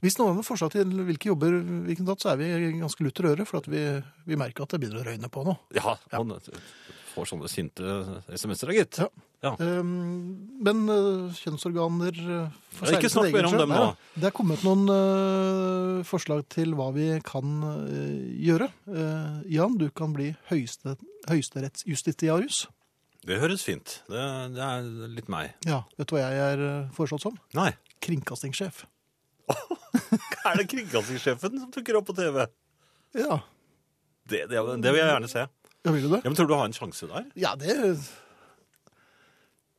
[SPEAKER 1] Hvis noen har noen forslag til hvilke jobber vi kan ta, så er vi ganske lutter øre, for at vi, vi merker at det begynner å røyne på nå.
[SPEAKER 2] ja, Man får sånne sinte SMS-er, da, gitt.
[SPEAKER 1] Ja.
[SPEAKER 2] Ja.
[SPEAKER 1] Um, men øh, kjønnsorganer øh, for
[SPEAKER 2] Ja, ikke
[SPEAKER 1] seg-
[SPEAKER 2] snakk
[SPEAKER 1] sin egen
[SPEAKER 2] mer om
[SPEAKER 1] skjønn.
[SPEAKER 2] dem nå.
[SPEAKER 1] Nei da. Det er kommet noen øh, forslag til hva vi kan øh, gjøre. Eh, Jan, du kan bli høyeste, høyesterettsjustitiarius.
[SPEAKER 2] Det høres fint. Det, det er litt meg.
[SPEAKER 1] Ja, vet du hva jeg er øh, foreslått som?
[SPEAKER 2] Nei.
[SPEAKER 1] Kringkastingssjef.
[SPEAKER 2] (laughs) Er det kringkastingssjefen som dukker opp på TV?
[SPEAKER 1] Ja,
[SPEAKER 2] Det, det, det vil jeg gjerne se.
[SPEAKER 1] ja vil du det?
[SPEAKER 2] Ja, men Tror du du har en sjanse der?
[SPEAKER 1] Ja, det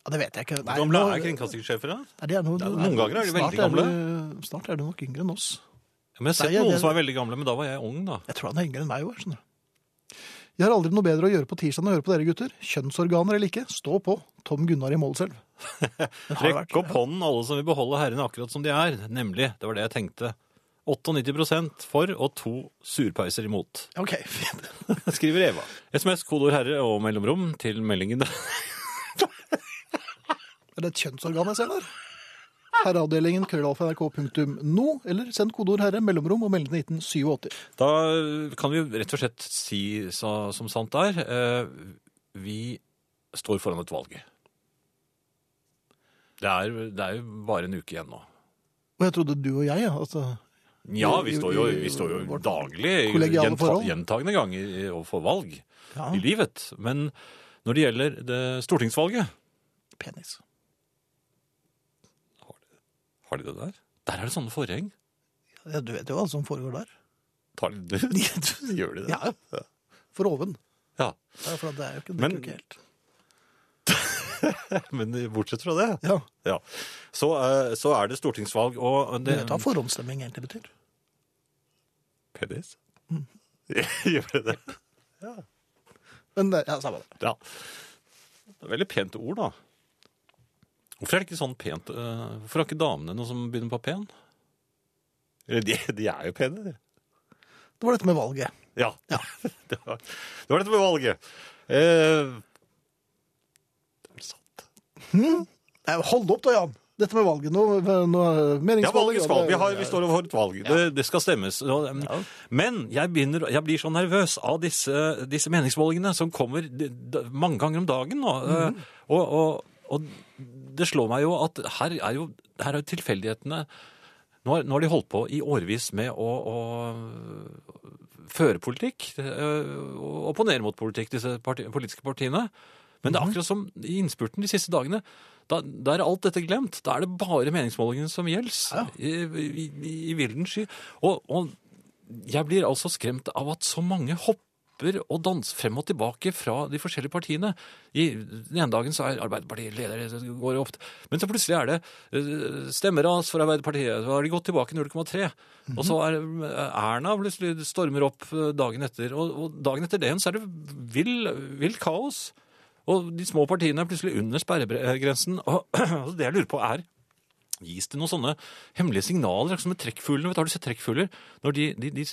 [SPEAKER 1] ja, det vet jeg ikke. Nei,
[SPEAKER 2] Hvor gamle
[SPEAKER 1] nå-
[SPEAKER 2] er kringkastingssjefer, da?
[SPEAKER 1] Nei, de er noe-
[SPEAKER 2] Det er- noen ganger er de
[SPEAKER 1] snart
[SPEAKER 2] veldig
[SPEAKER 1] Er de, snart er de nok yngre enn oss.
[SPEAKER 2] Ja, men jeg har sett
[SPEAKER 1] Nei, jeg-
[SPEAKER 2] noen
[SPEAKER 1] jeg-
[SPEAKER 2] som er veldig gamle, men da var jeg ung, da.
[SPEAKER 1] Jeg tror han er yngre enn meg òg. skjønner du. Jeg har aldri noe bedre å gjøre på tirsdag enn å høre på dere gutter. Kjønnsorganer eller ikke, stå på. Tom Gunnar i Målselv. Men har det vært-
[SPEAKER 2] Rekk opp hånden alle som vil beholde herrene akkurat som de er. Nemlig. Det var det jeg tenkte. 98 for og to surpeiser
[SPEAKER 1] (laughs)
[SPEAKER 2] imot.
[SPEAKER 1] Ja, OK, fint.
[SPEAKER 2] Skriver Eva. SMS, kodord herre og mellomrom til meldingen.
[SPEAKER 1] Er det et kjønnsorgan jeg ser der? herreavdelingen krøllalfa.nrk.no, eller send kodeord herre, mellomrom og melding til 1987.
[SPEAKER 2] (laughs) Da kan vi jo rett og slett si sa, som sant er. eh, Vi står foran et valg. Det er, det er jo bare en uke igjen nå.
[SPEAKER 1] Og jeg trodde du og jeg, ja, altså
[SPEAKER 2] Ja,
[SPEAKER 1] I-
[SPEAKER 2] vi
[SPEAKER 1] i-
[SPEAKER 2] står jo,
[SPEAKER 1] i-
[SPEAKER 2] vi står jo
[SPEAKER 1] vårt
[SPEAKER 2] daglig,
[SPEAKER 1] kollegiale
[SPEAKER 2] gjenta,
[SPEAKER 1] forhold.
[SPEAKER 2] gjentagende ganger eh, overfor valg
[SPEAKER 1] Ja,
[SPEAKER 2] i livet. Men når det gjelder det stortingsvalget
[SPEAKER 1] penis.
[SPEAKER 2] Har de det der? Der er det sånne forheng.
[SPEAKER 1] Ja, du vet jo hva som foregår der.
[SPEAKER 2] Tar
[SPEAKER 1] (laughs)
[SPEAKER 2] de det? Gjør de det?
[SPEAKER 1] Ja, For oven.
[SPEAKER 2] Ja.
[SPEAKER 1] Ja, for det er jo ikke, det
[SPEAKER 2] Men-
[SPEAKER 1] er jo ikke helt.
[SPEAKER 2] Men bortsett fra det,
[SPEAKER 1] Ja,
[SPEAKER 2] ja. så, eh, så er det stortingsvalg, og
[SPEAKER 1] du
[SPEAKER 2] det
[SPEAKER 1] vet hva forhåndsstemming egentlig betyr.
[SPEAKER 2] Penis?
[SPEAKER 1] Mm.
[SPEAKER 2] (laughs) Gjør det det?
[SPEAKER 1] Men det, ja, samme det.
[SPEAKER 2] Ja. Det er veldig pent ord, da. Hvorfor er det ikke sånn pent eh, Hvorfor har ikke damene noe som begynner på pen? Eller Eh, de, de er jo pene, de.
[SPEAKER 1] Det var dette med valget.
[SPEAKER 2] (laughs) Ja.
[SPEAKER 1] Ja.
[SPEAKER 2] Det, var, det var dette med valget. Eh, det er sant.
[SPEAKER 1] Nei, hold opp da, Jan. Dette med valget nå, nå er
[SPEAKER 2] Ja,
[SPEAKER 1] meningsmåling.
[SPEAKER 2] valget
[SPEAKER 1] og
[SPEAKER 2] skal.
[SPEAKER 1] det-
[SPEAKER 2] Vi, har, vi står overfor et valg. Det, det skal stemmes. Og, um,
[SPEAKER 1] Ja.
[SPEAKER 2] Men jeg, begynner, jeg blir så nervøs av disse, disse meningsmålingene som kommer d- d- mange ganger om dagen. nå. Eh, og, og, og det slår meg jo at her er jo, her er jo tilfeldighetene nå har, nå har de holdt på i årevis med å, å føre politikk, eh, og opponere mot politikk, disse parti, politiske partiene. Men det er akkurat som i innspurten de siste dagene. Da, da er alt dette glemt. Da er det bare meningsmålingene som gjelder. I, i, i- I vilden sky. Og, og jeg blir altså skremt av at så mange hopper og danser frem og tilbake fra de forskjellige partiene. I, den ene dagen så er Arbeiderpartiet leder, det går jo ofte. Men så plutselig er det eh, stemmeras for Arbeiderpartiet. Da har de gått tilbake 0,3. Og så er eh, Erna plutselig stormer opp eh, dagen etter. Og, og dagen etter det igjen så er det vill, vill kaos. Og de små partiene er plutselig under sperregrensen. Og (clears throat) og det jeg lurer på er Gis det noen sånne hemmelige signaler, akkurat som med trekkfuglene? Vet du, har du sett trekkfugler? Når de, de, de,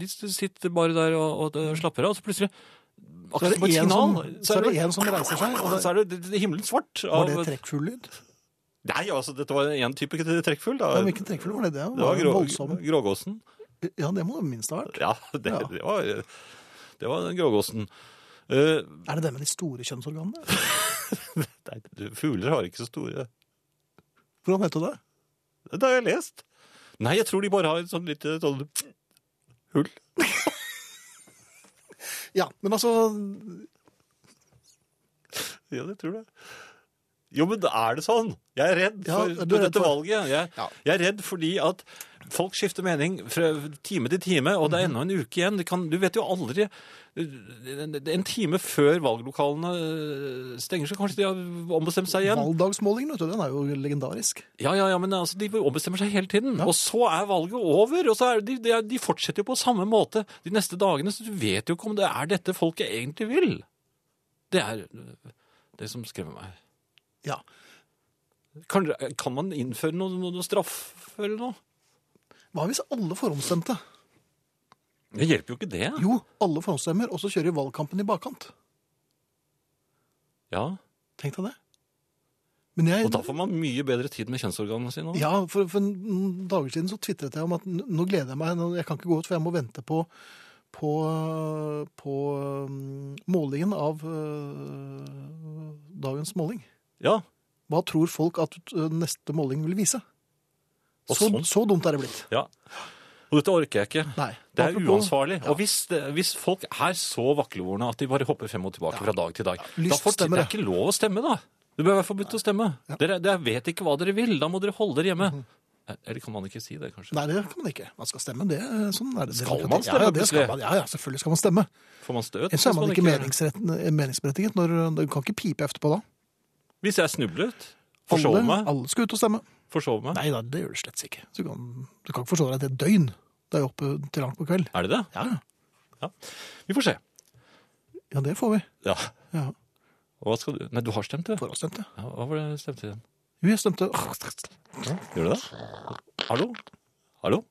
[SPEAKER 2] de sitter bare der og, og slapper av, og så plutselig
[SPEAKER 1] Så er det
[SPEAKER 2] akkurat som et
[SPEAKER 1] en
[SPEAKER 2] signal,
[SPEAKER 1] som- så er det en som reiser seg, og
[SPEAKER 2] og (laughs)
[SPEAKER 1] det-
[SPEAKER 2] så er det, det, det himmelen svart.
[SPEAKER 1] Var
[SPEAKER 2] Av,
[SPEAKER 1] det trekkfuglyd?
[SPEAKER 2] Nei, altså, dette var én type trekkfugl. Da.
[SPEAKER 1] Ja, hvilken trekkfugl var det? Det
[SPEAKER 2] det
[SPEAKER 1] var
[SPEAKER 2] var
[SPEAKER 1] en
[SPEAKER 2] grå,
[SPEAKER 1] voldsom.
[SPEAKER 2] grågåsen.
[SPEAKER 1] Ja, det må det minst ha vært.
[SPEAKER 2] Ja, det,
[SPEAKER 1] Ja.
[SPEAKER 2] det var det var den grågåsen. Eh,
[SPEAKER 1] Er det det med de store kjønnsorganene?
[SPEAKER 2] nei, fugler har ikke så store
[SPEAKER 1] Hvordan vet du det?
[SPEAKER 2] Det har jeg lest. Nei, jeg tror de bare har et sånn lite sånn hull.
[SPEAKER 1] Ja, men altså
[SPEAKER 2] Ja, det tror jeg. Jo, men er det sånn? Jeg er redd
[SPEAKER 1] Ja,
[SPEAKER 2] for,
[SPEAKER 1] er du
[SPEAKER 2] for
[SPEAKER 1] redd
[SPEAKER 2] dette
[SPEAKER 1] for-
[SPEAKER 2] valget. Jeg,
[SPEAKER 1] Ja.
[SPEAKER 2] jeg er redd fordi at folk skifter mening fra time til time, og det
[SPEAKER 1] Mhm.
[SPEAKER 2] er ennå en uke igjen. Det kan, du vet jo aldri En time før valglokalene eh, stenger, så kanskje de har ombestemt seg igjen.
[SPEAKER 1] Valgdagsmålingen, vet du, den er jo legendarisk.
[SPEAKER 2] Ja, ja, ja, men altså, de ombestemmer seg hele tiden. Og så er valget over, og så er de, de, er- de fortsetter jo på samme måte de neste dagene, så du vet jo ikke om det er dette folket egentlig vil. Det er øh, det som skremmer meg.
[SPEAKER 1] Ja.
[SPEAKER 2] Kan, eh, kan man innføre noe, noe, noe straff eller noe?
[SPEAKER 1] Hva hvis alle forhåndsstemte?
[SPEAKER 2] Det hjelper jo ikke det.
[SPEAKER 1] Jo, alle forhåndsstemmer, og så kjører de valgkampen i bakkant.
[SPEAKER 2] Ja,
[SPEAKER 1] Tenk deg det. Men jeg,
[SPEAKER 2] Og da får man mye bedre tid med kjønnsorganene sine. også.
[SPEAKER 1] ja, for, for noen dager siden så tvitret jeg om at n- nå gleder jeg meg, nå- jeg kan ikke gå ut, for jeg må vente på, på, på mm, målingen av øh, dagens måling.
[SPEAKER 2] Ja.
[SPEAKER 1] Hva tror folk at øh, neste måling vil vise?
[SPEAKER 2] Og
[SPEAKER 1] Så,
[SPEAKER 2] sånn.
[SPEAKER 1] så dumt er det blitt.
[SPEAKER 2] ja. Og dette orker jeg ikke.
[SPEAKER 1] Nei.
[SPEAKER 2] Det er
[SPEAKER 1] Apropos-
[SPEAKER 2] uansvarlig. Og hvis, det- hvis folk er så vaklevorne at de bare hopper frem og tilbake fra dag til dag, da får
[SPEAKER 1] lyststemmer,
[SPEAKER 2] det er ikke lov å stemme, da. Det bør være forbudt å stemme. Dere, dere vet ikke hva dere vil. Da må dere holde dere hjemme.
[SPEAKER 1] Mhm.
[SPEAKER 2] Eh, Eller kan man ikke si det, kanskje?
[SPEAKER 1] Nei, det kan man ikke. Man skal stemme. det. er- Sånn er det.
[SPEAKER 2] Skal
[SPEAKER 1] demokrati.
[SPEAKER 2] man stemme
[SPEAKER 1] Ja, det skal
[SPEAKER 2] plutselig?
[SPEAKER 1] man. Ja, ja, selvfølgelig skal man stemme.
[SPEAKER 2] Får man støt?
[SPEAKER 1] Ellers er
[SPEAKER 2] hvis
[SPEAKER 1] man ikke
[SPEAKER 2] gjør det?
[SPEAKER 1] meningsretten- meningsberettiget. Når, øh, du kan ikke pipe etterpå da.
[SPEAKER 2] Hvis jeg snublet, forsov
[SPEAKER 1] Alle,
[SPEAKER 2] meg,
[SPEAKER 1] alle skal ut og stemme.
[SPEAKER 2] forsov meg.
[SPEAKER 1] Nei da, det gjør du slett ikke. Du kan, du kan ikke forsove deg til et døgn. Det er jo oppe til langt på kveld.
[SPEAKER 2] Er det det?
[SPEAKER 1] Ja,
[SPEAKER 2] Vi får se.
[SPEAKER 1] ja det får vi.
[SPEAKER 2] Ja.
[SPEAKER 1] Ja,
[SPEAKER 2] Og Hva skal du? Nei, du har stemt, du.
[SPEAKER 1] Forhåndsstemte.
[SPEAKER 2] Ja, hva var det stemte igjen?
[SPEAKER 1] Jo, jeg stemte
[SPEAKER 2] Gjør du det? Hallo? Hallo?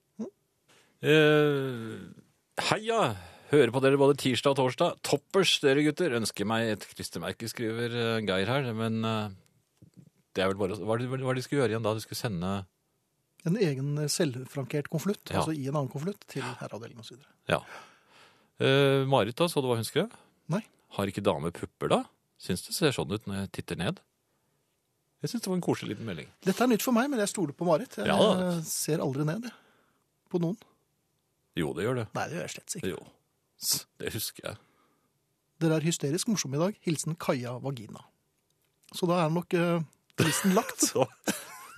[SPEAKER 2] Eh, heia! Hører på dere både tirsdag og torsdag. Toppers, dere gutter. Ønsker meg et klistremerke, skriver eh, Geir her. Men eh, Det er vel bare, hva er det hva er det de skulle gjøre igjen da? De skulle sende
[SPEAKER 1] En egen selvfrankert konvolutt,
[SPEAKER 2] Ja.
[SPEAKER 1] altså i en annen konvolutt, til herreavdeling osv.
[SPEAKER 2] Ja. Eh, Marit, da, så du hva hun skrev?
[SPEAKER 1] Nei.
[SPEAKER 2] Har ikke damer pupper, da? Syns det ser sånn ut når jeg titter ned. Jeg syns det var en koselig liten melding.
[SPEAKER 1] Dette er nytt for meg, men jeg stoler på Marit. Jeg eh,
[SPEAKER 2] Ja, da.
[SPEAKER 1] ser aldri ned jeg, på noen.
[SPEAKER 2] Jo, det gjør det.
[SPEAKER 1] Nei, det gjør jeg slett ikke.
[SPEAKER 2] Jo. Det husker jeg.
[SPEAKER 1] Dere er hysterisk morsomme i dag. Hilsen Kaja Vagina. Så da er nok eh, listen lagt.
[SPEAKER 2] (laughs) Så,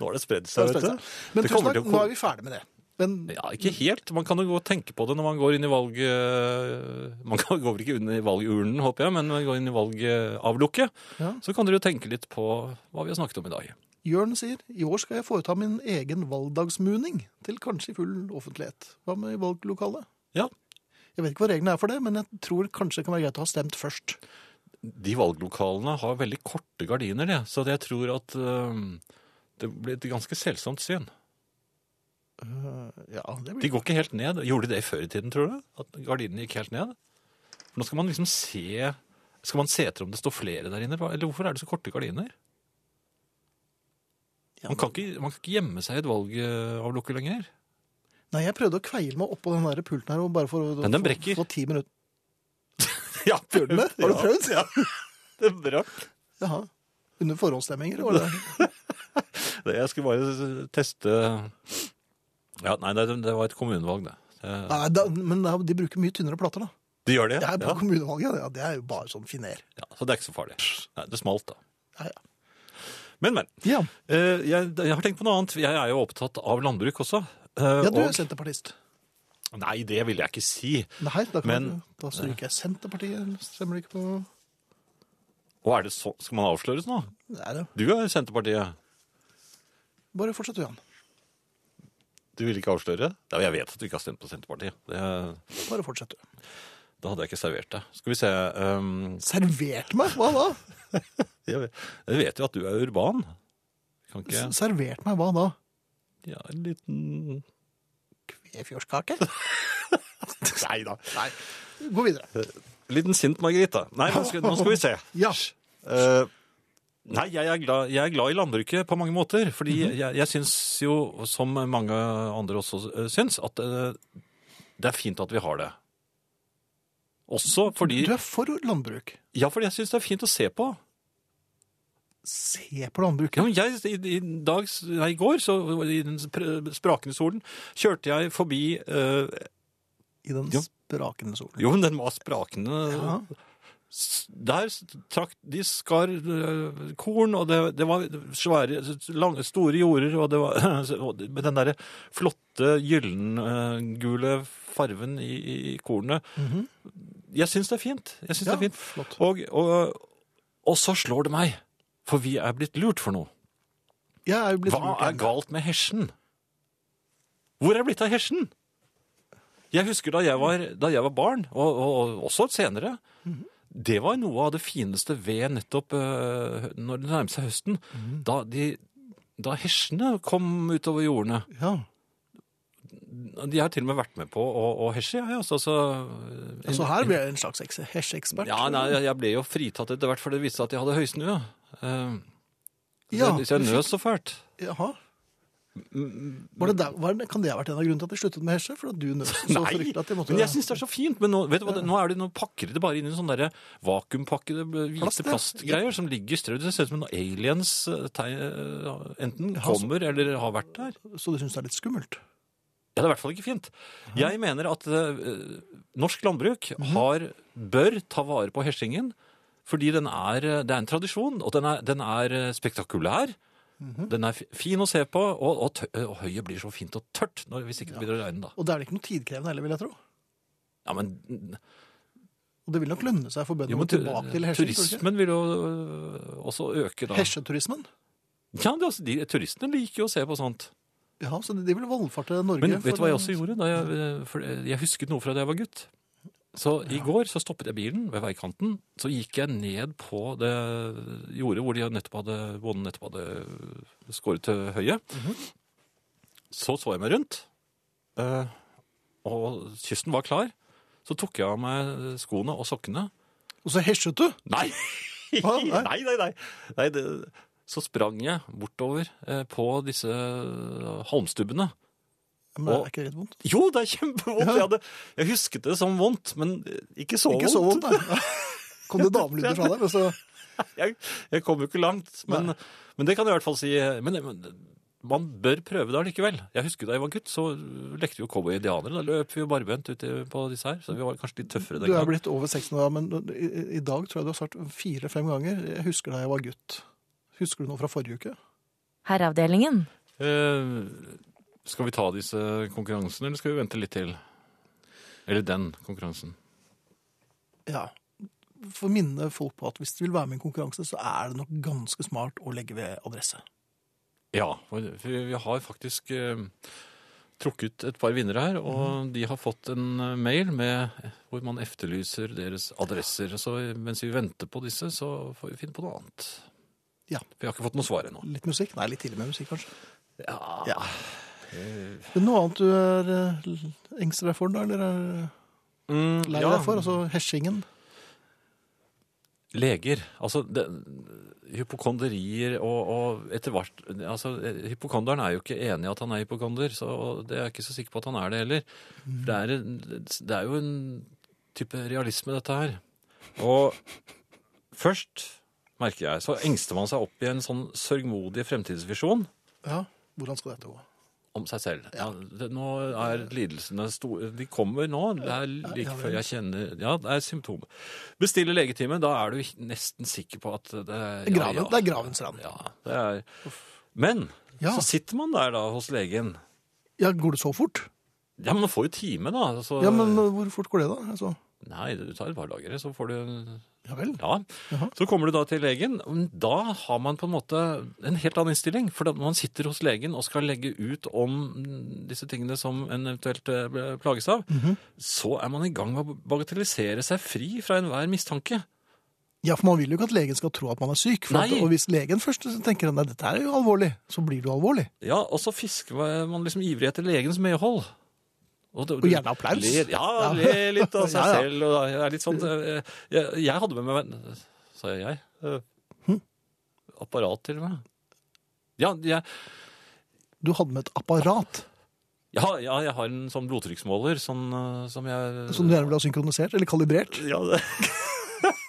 [SPEAKER 2] nå har det spredd
[SPEAKER 1] Det er
[SPEAKER 2] seg, vet
[SPEAKER 1] spennende.
[SPEAKER 2] du.
[SPEAKER 1] Men
[SPEAKER 2] Det
[SPEAKER 1] tusen
[SPEAKER 2] kommer
[SPEAKER 1] takk,
[SPEAKER 2] til å
[SPEAKER 1] nå
[SPEAKER 2] kom-
[SPEAKER 1] er vi ferdig med det. Men
[SPEAKER 2] Ja, ikke helt. Man kan jo gå og tenke på det når man går inn i valg... eh, Man kan, går vel ikke inn i valgurnen, håper jeg, men man går inn i valgavlukket.
[SPEAKER 1] Ja.
[SPEAKER 2] Så kan dere jo tenke litt på hva vi har snakket om i dag.
[SPEAKER 1] Jørn sier i år skal jeg foreta min egen valgdagsmuning til kanskje full offentlighet. Hva med i valglokalet?
[SPEAKER 2] Ja,
[SPEAKER 1] Jeg vet ikke hva reglene er for det, men jeg tror kanskje det kan være greit å ha stemt først.
[SPEAKER 2] de valglokalene har veldig korte gardiner, det. Så jeg tror at øhm, det blir et ganske selsomt syn.
[SPEAKER 1] Ja, det
[SPEAKER 2] De
[SPEAKER 1] blir
[SPEAKER 2] går ikke helt ned. Gjorde de det før i tiden, tror du? At gardinene gikk helt ned? For nå skal man liksom se Skal man se etter om det står flere der inne? Eller hvorfor er det så korte gardiner?
[SPEAKER 1] Ja,
[SPEAKER 2] Man kan ikke, man kan ikke gjemme seg i et valgavlukke lenger.
[SPEAKER 1] Nei, jeg prøvde å kveile meg oppå den der pulten her og bare for å
[SPEAKER 2] Men den
[SPEAKER 1] få-
[SPEAKER 2] brekker.
[SPEAKER 1] få ti minutter.
[SPEAKER 2] (laughs) Ja, prøvd.
[SPEAKER 1] Har du prøvd?
[SPEAKER 2] Ja, (laughs) det brakk.
[SPEAKER 1] Jaha. Under forhåndsstemminger, var det?
[SPEAKER 2] (laughs) Det- Jeg skulle bare teste Ja, nei, det, det var et kommunevalg, det. det.
[SPEAKER 1] Nei, da, men da, de bruker mye tynnere plater, da.
[SPEAKER 2] De gjør det?
[SPEAKER 1] Det er på
[SPEAKER 2] ja.
[SPEAKER 1] kommunevalget, ja, det er jo bare sånn finer.
[SPEAKER 2] Ja, så det er ikke så farlig. Nei, det smalt, da.
[SPEAKER 1] Ja, ja.
[SPEAKER 2] Men, men.
[SPEAKER 1] Ja,
[SPEAKER 2] Eh, jeg, jeg har tenkt på noe annet. Jeg er jo opptatt av landbruk også. Eh,
[SPEAKER 1] ja du er
[SPEAKER 2] og,
[SPEAKER 1] senterpartist.
[SPEAKER 2] nei, det vil jeg ikke si.
[SPEAKER 1] Nei, da, kan
[SPEAKER 2] Men-
[SPEAKER 1] du, da stryker jeg Senterpartiet. Stemmer det ikke på
[SPEAKER 2] Og er det så, Skal man avsløres nå?
[SPEAKER 1] Nei, det
[SPEAKER 2] Du er Senterpartiet.
[SPEAKER 1] Bare fortsett, du, Jan.
[SPEAKER 2] Du vil ikke avsløre? Ja, jeg vet at du ikke har stemt på Senterpartiet. Det,
[SPEAKER 1] Bare fortsett, du.
[SPEAKER 2] da hadde jeg ikke servert deg. Skal vi se ehm,
[SPEAKER 1] Servert meg? Hva da?
[SPEAKER 2] jeg, vet, jeg vet jo at du er urban. Kan ikke
[SPEAKER 1] S- Servert meg hva da?
[SPEAKER 2] ja, En liten
[SPEAKER 1] Kvefjordskake?
[SPEAKER 2] Nei da.
[SPEAKER 1] Nei. Gå videre.
[SPEAKER 2] Liten sint Margarita. Nei, nå skal, nå skal vi se.
[SPEAKER 1] Ja.
[SPEAKER 2] Eh, nei, jeg er, glad, jeg er glad i landbruket på mange måter. Fordi jeg, jeg syns jo, som mange andre også eh, syns, at eh, det er fint at vi har det. Også fordi
[SPEAKER 1] Du er for landbruk.
[SPEAKER 2] Ja, fordi jeg syns det er fint å se på.
[SPEAKER 1] Se på landbruket.
[SPEAKER 2] Ja, men jeg, i, i, dag, nei, I går, så i den spr- sprakende solen, kjørte jeg forbi eh,
[SPEAKER 1] I den
[SPEAKER 2] Jo.
[SPEAKER 1] sprakende solen.
[SPEAKER 2] Jo, men den var sprakende.
[SPEAKER 1] Ja.
[SPEAKER 2] S- Der s- trakk de skar øh, korn, og det, det var svære, lange, store jorder, og det var (laughs) og det- med den derre flotte gyllengule farven i, i, i kornet. Jeg syns det er fint. Jeg
[SPEAKER 1] Mhm.
[SPEAKER 2] syns
[SPEAKER 1] Ja,
[SPEAKER 2] det er fint.
[SPEAKER 1] flott.
[SPEAKER 2] Og, og, og så slår det meg, for vi er blitt lurt for noe.
[SPEAKER 1] Jeg er jo blitt
[SPEAKER 2] Hva er galt med hesjen? Hvor er det blitt av hesjen? Jeg husker da jeg var, da jeg var barn, og, og, og også senere, det var noe av det fineste ved nettopp øh, når det nærmer seg høsten. Da, de, da hesjene kom utover jordene.
[SPEAKER 1] Ja.
[SPEAKER 2] De har til og med vært med på å, å hesje, jeg. Altså, altså,
[SPEAKER 1] Altså, her blir jeg en slags eks- hesjeekspert.
[SPEAKER 2] ja, nei, jeg- jeg ble jo fritatt etter hvert, for det viste seg at jeg hadde høysnue. Uh,
[SPEAKER 1] Ja,
[SPEAKER 2] så, så jeg
[SPEAKER 1] du
[SPEAKER 2] nøs så fælt.
[SPEAKER 1] Jaha. Var det der, var det, kan det ha vært en av grunnene til at de sluttet med hesje? For at du nøs så
[SPEAKER 2] Nei,
[SPEAKER 1] fryktelig at de måtte
[SPEAKER 2] men jeg syns det er så fint. Men nå, vet du hva, det- nå, er det, nå pakker de det bare inn i sånne der vakuumpakkede hvite
[SPEAKER 1] Plast, ja.
[SPEAKER 2] plastgreier som ligger strødd. Det ser ut som noen aliens eh, teg- eh, enten kommer eller har vært der.
[SPEAKER 1] Så du syns det er litt skummelt?
[SPEAKER 2] Ja, det er i hvert fall ikke fint. Jeg mener at eh, norsk landbruk
[SPEAKER 1] Mhm.
[SPEAKER 2] har, bør ta vare på hesjingen, fordi den er, eh, det er en tradisjon, og den er, den er eh, spektakulær.
[SPEAKER 1] Mhm.
[SPEAKER 2] Den er fi- fin å se på, og, og, tø- og høyet blir så fint og tørt når, hvis ikke det begynner å regne. da.
[SPEAKER 1] Og det er det ikke noe tidkrevende heller, vil jeg tro.
[SPEAKER 2] Ja, men
[SPEAKER 1] Og det vil nok lønne seg for bøndene
[SPEAKER 2] Jo,
[SPEAKER 1] å
[SPEAKER 2] men
[SPEAKER 1] gå tilbake til hesjen. tror du ikke?
[SPEAKER 2] turismen vil jo øh, også øke da.
[SPEAKER 1] Hesjeturismen?
[SPEAKER 2] Ja, det, er altså, de, turistene liker jo å se på sånt.
[SPEAKER 1] Ja, så de vil valfarte Norge.
[SPEAKER 2] Men vet
[SPEAKER 1] for-
[SPEAKER 2] du hva jeg også gjorde? Da jeg, øh, for jeg husket noe fra da jeg var gutt. Så i går så stoppet jeg bilen ved veikanten, så gikk jeg ned på det jordet hvor de nettopp hadde, bonden nettopp hadde øh, skåret til høyet.
[SPEAKER 1] Mhm.
[SPEAKER 2] Så så jeg meg rundt, eh, og kysten var klar. Så tok jeg av meg skoene og sokkene,
[SPEAKER 1] Og så hesjet du!
[SPEAKER 2] Nei!
[SPEAKER 1] (laughs) Hva? Nei?
[SPEAKER 2] nei, nei, nei. nei det, så sprang jeg bortover eh, på disse eh, halmstubbene.
[SPEAKER 1] Men er ikke det litt vondt?
[SPEAKER 2] Jo, det er kjempevondt! Jeg, hadde, jeg husket det som vondt, men eh, ikke så
[SPEAKER 1] Ikke så
[SPEAKER 2] vondt.
[SPEAKER 1] vondt, (laughs) nei. Kom det damelyder fra deg? Altså, og så-
[SPEAKER 2] Jeg, jeg kom jo ikke langt, men, men det kan jeg i hvert fall si. eh, Men, men man bør prøve det allikevel. Jeg husker da jeg var gutt, så lekte vi jo cowboy-indianere. Da løp vi jo barbent ute på disse her, så vi var kanskje litt tøffere
[SPEAKER 1] Du
[SPEAKER 2] den
[SPEAKER 1] er
[SPEAKER 2] gangen.
[SPEAKER 1] blitt over 16 år, men i, i dag tror jeg du har svart fire-fem ganger. Jeg husker da jeg var gutt. Husker du noe fra forrige uke?
[SPEAKER 5] Herreavdelingen.
[SPEAKER 2] Eh, skal vi ta disse konkurransene, eller skal vi vente litt til? Eller den konkurransen.
[SPEAKER 1] Ja. For å minne folk på at hvis de vil være med i en konkurranse, så er det nok ganske smart å legge ved adresse.
[SPEAKER 2] Ja, for for vi har faktisk eh, trukket et par vinnere her, og de har fått en eh, mail med, hvor man efterlyser deres adresser. Så mens vi venter på disse, så får vi finne på noe annet.
[SPEAKER 1] Ja.
[SPEAKER 2] For jeg har ikke fått noe svar ennå.
[SPEAKER 1] Litt musikk? Nei, litt tidlig med musikk, kanskje.
[SPEAKER 2] Ja.
[SPEAKER 1] Ja. Men noe annet du er eh, engster deg for, da? Eller er
[SPEAKER 2] Mm,
[SPEAKER 1] lei
[SPEAKER 2] ja.
[SPEAKER 1] deg for? Altså hesjingen?
[SPEAKER 2] Leger. Altså, det, hypokonderier og, og etter hvert altså, Hypokonderen er jo ikke enig i at han er hypokonder, så det er jeg ikke så sikker på at han er det heller. Det, er en, det er jo en type realisme, dette her. Og først, merker jeg, så engster man seg opp i en sånn sørgmodig fremtidsvisjon
[SPEAKER 1] Ja. Hvordan skal dette gå?
[SPEAKER 2] om seg selv. Ja, det, nå er lidelsene store. De kommer nå. Det er like før jeg kjenner Ja, det er symptomer. Bestille legetime. Da er du ikke- nesten sikker på at det er
[SPEAKER 1] Graven, Det er gravens rand. Ja.
[SPEAKER 2] Ja, det er Men
[SPEAKER 1] Ja.
[SPEAKER 2] så sitter man der da hos legen.
[SPEAKER 1] Går det så fort?
[SPEAKER 2] Ja, men man får jo time, da. Så,
[SPEAKER 1] Ja, men hvor fort går det, da? Altså,
[SPEAKER 2] Nei, du tar et par dager, så får du
[SPEAKER 1] ja vel.
[SPEAKER 2] Ja.
[SPEAKER 1] Jaha.
[SPEAKER 2] Så kommer du da til legen. men Da har man på en måte en helt annen innstilling. For at man sitter hos legen og skal legge ut om disse tingene som en eventuelt eh, ble- plages av.
[SPEAKER 1] Mhm.
[SPEAKER 2] Så er man i gang med å bagatellisere seg fri fra enhver mistanke.
[SPEAKER 1] Ja, for man vil jo ikke at legen skal tro at man er syk. For at,
[SPEAKER 2] Nei.
[SPEAKER 1] og hvis legen først tenker at dette her er jo alvorlig, så blir du alvorlig.
[SPEAKER 2] Ja, og så fisker man liksom ivrig etter legens medhold. Og, det-
[SPEAKER 1] Og gjerne applaus.
[SPEAKER 2] Ler, ja,
[SPEAKER 1] Ja.
[SPEAKER 2] le litt
[SPEAKER 1] (laughs)
[SPEAKER 2] av seg
[SPEAKER 1] Ja, ja.
[SPEAKER 2] selv. Og det er litt sånn, eh, jeg, jeg hadde med meg Sa jeg jeg? Eh,
[SPEAKER 1] Hm?
[SPEAKER 2] Apparat til og med. Ja, jeg,
[SPEAKER 1] Du hadde med et apparat
[SPEAKER 2] Ja, ja, jeg har en sånn blodtrykksmåler sånn, eh, som jeg
[SPEAKER 1] som du gjerne ville ha synkronisert eller kalibrert.
[SPEAKER 2] ja, det.
[SPEAKER 1] (laughs)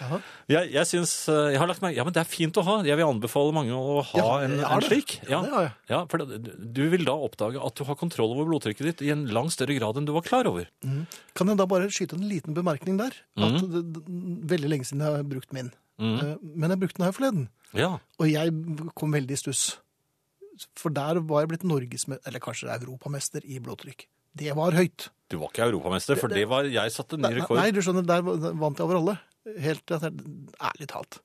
[SPEAKER 1] Jaha.
[SPEAKER 2] Jeg, jeg syns eh, Jeg har lagt merke Ja, men det er fint å ha. Jeg vil anbefale mange å ha
[SPEAKER 1] Ja,
[SPEAKER 2] en,
[SPEAKER 1] jeg har
[SPEAKER 2] en
[SPEAKER 1] det.
[SPEAKER 2] slik.
[SPEAKER 1] Ja, det har jeg.
[SPEAKER 2] ja, for det- du vil da oppdage at du har kontroll over blodtrykket ditt i en langt større grad enn du var klar over.
[SPEAKER 1] Kan jeg da bare skyte en liten bemerkning der? At det, det, veldig lenge siden jeg har brukt min. Eh, Men jeg brukte den her forleden,
[SPEAKER 2] Ja.
[SPEAKER 1] og jeg kom veldig i stuss. For der var jeg blitt norgesmester, eller kanskje europamester i blodtrykk. Det var høyt.
[SPEAKER 2] Du var ikke europamester, for det var Jeg satte ny
[SPEAKER 1] Nei,
[SPEAKER 2] rekord.
[SPEAKER 1] Nei, du skjønner, der vant jeg over alle. Helt til at jeg, ærlig talt.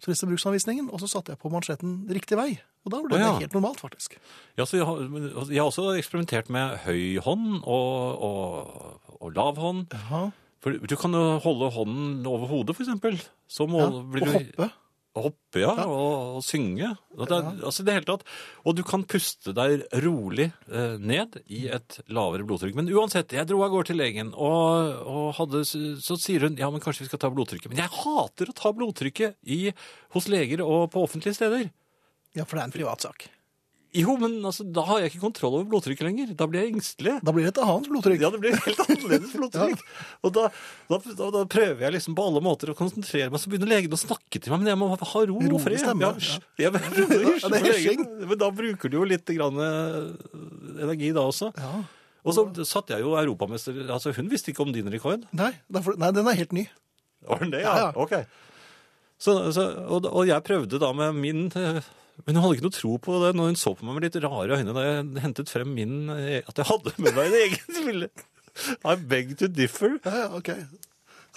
[SPEAKER 1] Så leste jeg bruksanvisningen, og så satte jeg på mansjetten riktig vei. Og da ble
[SPEAKER 2] Å,
[SPEAKER 1] det
[SPEAKER 2] ja.
[SPEAKER 1] helt normalt, faktisk.
[SPEAKER 2] Ja, så jeg, har, men altså, jeg har også eksperimentert med høy hånd og, og, og lav hånd. For du kan jo holde hånden over hodet, for eksempel. Så må,
[SPEAKER 1] Ja. Og
[SPEAKER 2] blir du
[SPEAKER 1] hoppe.
[SPEAKER 2] Å Hoppe, ja, Og, og synge. Og det, er- Altså, i det hele tatt. Og du kan puste deg rolig eh, ned i et lavere blodtrykk. Men uansett, jeg dro av gårde til legen, og, og hadde, så så sier hun ja, men kanskje vi skal ta blodtrykket. Men jeg hater å ta blodtrykket i, hos leger og på offentlige steder.
[SPEAKER 1] Ja, for det er en privatsak.
[SPEAKER 2] Jo, men altså, da har jeg ikke kontroll over blodtrykket lenger. Da blir jeg engstelig.
[SPEAKER 1] Da blir det et annet blodtrykk.
[SPEAKER 2] (laughs) Ja, det blir helt annerledes blodtrykk. Og da, da, da, da prøver jeg liksom på alle måter å konsentrere meg, så begynner legen å snakke til meg, men jeg må ha ro og
[SPEAKER 1] Rolig
[SPEAKER 2] fred.
[SPEAKER 1] stemme,
[SPEAKER 2] Ja,
[SPEAKER 1] ja.
[SPEAKER 2] hysj. jeg prøver å hysje
[SPEAKER 1] Ja, det er
[SPEAKER 2] på
[SPEAKER 1] hysjing.
[SPEAKER 2] legen, men da bruker du jo litt grann, eh, energi da også.
[SPEAKER 1] Ja.
[SPEAKER 2] Og så satt jeg jo europamester, altså hun visste ikke om din rekord.
[SPEAKER 1] Nei, derfor, nei, den er helt ny.
[SPEAKER 2] Var den det?
[SPEAKER 1] Ja, ja.
[SPEAKER 2] ok. Så, så, og, og jeg prøvde da med min eh, Men hun hadde ikke noe tro på det når hun så på meg med litt rare øyne da jeg hentet frem min eh, At jeg hadde med meg en egen spille. I beg to differ.
[SPEAKER 1] Ja, ja, ok.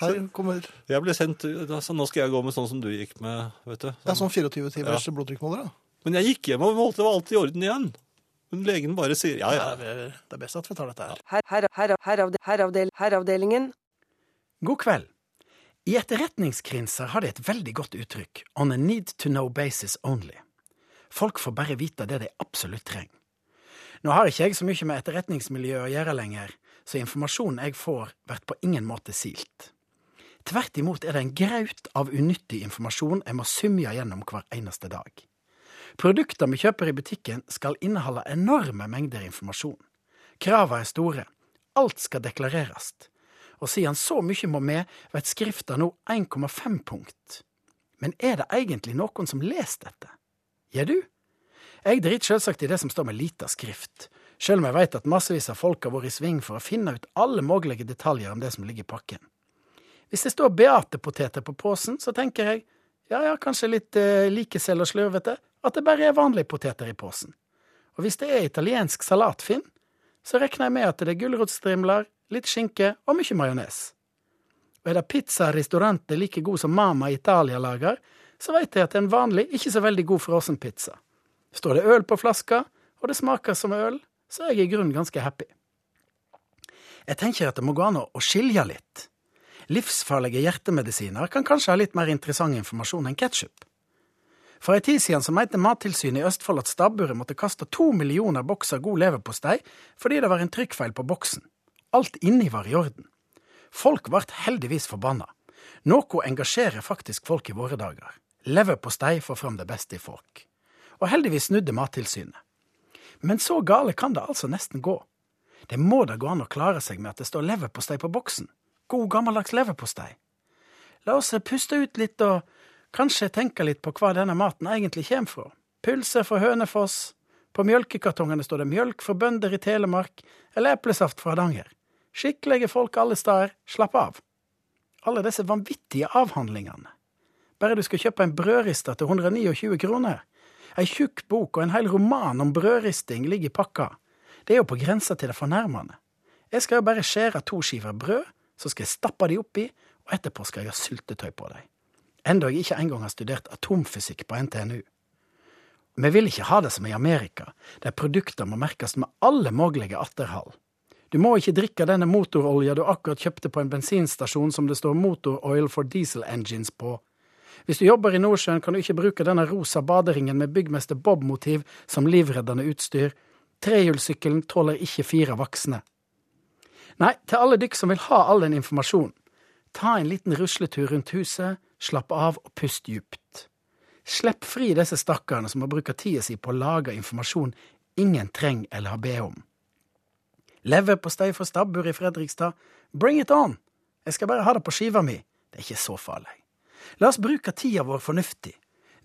[SPEAKER 1] Her kommer
[SPEAKER 2] Jeg ble sendt ut, altså nå skal jeg gå med sånn som du gikk med, vet du.
[SPEAKER 1] ja, sånn 24-timers blodtrykkmåler. da.
[SPEAKER 2] Men jeg gikk hjem og holdt det var alt i orden igjen. Men legen bare sier ja, ja.
[SPEAKER 1] Det er best at vi tar dette her.
[SPEAKER 6] Her, her, her, heravde, heravdel, heravdelingen.
[SPEAKER 7] God kveld. I etterretningskrinser har de et veldig godt uttrykk, on a need to know basis only. Folk får bare vite det de absolutt trenger. Nå har ikke jeg så mye med etterretningsmiljø å gjøre lenger, så informasjonen jeg får, blir på ingen måte silt. Tvert imot er det en graut av unyttig informasjon jeg må sumja gjennom hver eneste dag. Produkter vi kjøper i butikken skal inneholde enorme mengder informasjon. Krava er store. Alt skal deklareres. Og siden så mye må med, veit skrifta nå 1,5 punkt. Men er det egentlig noen som leser dette? Ja, du? Jeg driter selvsagt i det som står med lita skrift, sjøl om jeg veit at massevis av folk har vært i sving for å finne ut alle mulige detaljer om det som ligger i pakken. Hvis det står Beate-poteter på posen, så tenker jeg ja ja, kanskje litt eh, likesel og slurvete, at det bare er vanlige poteter i posen. Og hvis det er italiensk salat, Finn, så regner jeg med at det er gulrotstrimler, litt skinke og mye majones. Og er det pizza ristorante like god som Mama Italia lager, så veit jeg at det er en vanlig, ikke så veldig god frossenpizza. Står det øl på flaska, og det smaker som øl, så er jeg i grunnen ganske happy. Jeg tenker at det må gå an å å skilje litt. Livsfarlige hjertemedisiner kan kanskje ha litt mer interessant informasjon enn ketsjup. For ei tid siden så mente Mattilsynet i Østfold at stabburet måtte kaste to millioner bokser god leverpostei fordi det var en trykkfeil på boksen. Alt inni var i orden. Folk ble heldigvis forbanna. Noe engasjerer faktisk folk i våre dager. Leverpostei får fram det beste i folk. Og heldigvis snudde Mattilsynet. Men så gale kan det altså nesten gå. Det må da gå an å klare seg med at det står leverpostei på boksen. God gammeldags leverpostei. La oss puste ut litt og kanskje tenke litt på hva denne maten egentlig kommer fra. Pølse fra Hønefoss. På mjølkekartongene står det mjølk fra bønder i Telemark, eller eplesaft fra Hardanger. Skikkelige folk alle steder, slapp av. Alle disse vanvittige avhandlingene. Bare du skal kjøpe en brødrister til 129 kroner. Ei tjukk bok og en hel roman om brødristing ligger i pakka. Det er jo på grensa til det fornærmende. Jeg skal jo bare skjære to skiver brød, så skal jeg stappe de oppi, og etterpå skal jeg ha syltetøy på dem. Enda jeg ikke engang har studert atomfysikk på NTNU. Vi vil ikke ha det som i Amerika, der produkter må merkes med alle mulige atterhall. Du må ikke drikke denne motorolja du akkurat kjøpte på en bensinstasjon som det står motoroil for diesel engines på. Hvis du jobber i Nordsjøen, kan du ikke bruke denne rosa baderingen med byggmester Bob-motiv som livreddende utstyr. Trehjulssykkelen tåler ikke fire voksne. Nei, til alle dykk som vil ha all den informasjonen. Ta en liten rusletur rundt huset, slapp av og pust djupt. Slipp fri disse stakkarene som må bruke tida si på å lage informasjon ingen trenger eller har bedt om. Leverpostei fra stabbur i Fredrikstad, bring it on! Jeg skal bare ha det på skiva mi. Det er ikke så farlig. La oss bruke tida vår fornuftig.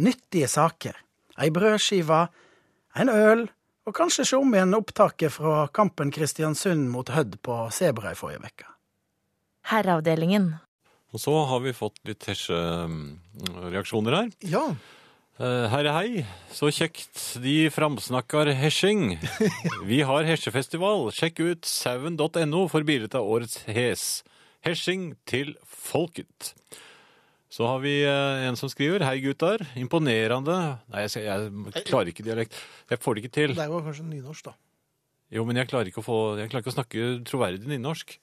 [SPEAKER 7] Nyttige saker. Ei brødskive, en øl, og kanskje se om igjen opptaket fra kampen Kristiansund mot Hødd på Sebra i forrige uke.
[SPEAKER 5] Herreavdelingen.
[SPEAKER 2] Og så har vi fått litt hesjereaksjoner her.
[SPEAKER 1] Ja,
[SPEAKER 2] Eh, Herre hei, så kjekt de framsnakkar hesjing. (laughs) Vi har hesjefestival. Sjekk ut sauen.no for bildet av årets hes. Hesjing til folket. Så har vi eh, en som skriver. Hei, gutter. Imponerende Nei, jeg, skal- jeg klarer ikke dialekt. Jeg får det ikke til.
[SPEAKER 1] det er jo kanskje nynorsk, da.
[SPEAKER 2] Jo, men jeg klarer ikke å, få, jeg klarer ikke å snakke troverdig nynorsk.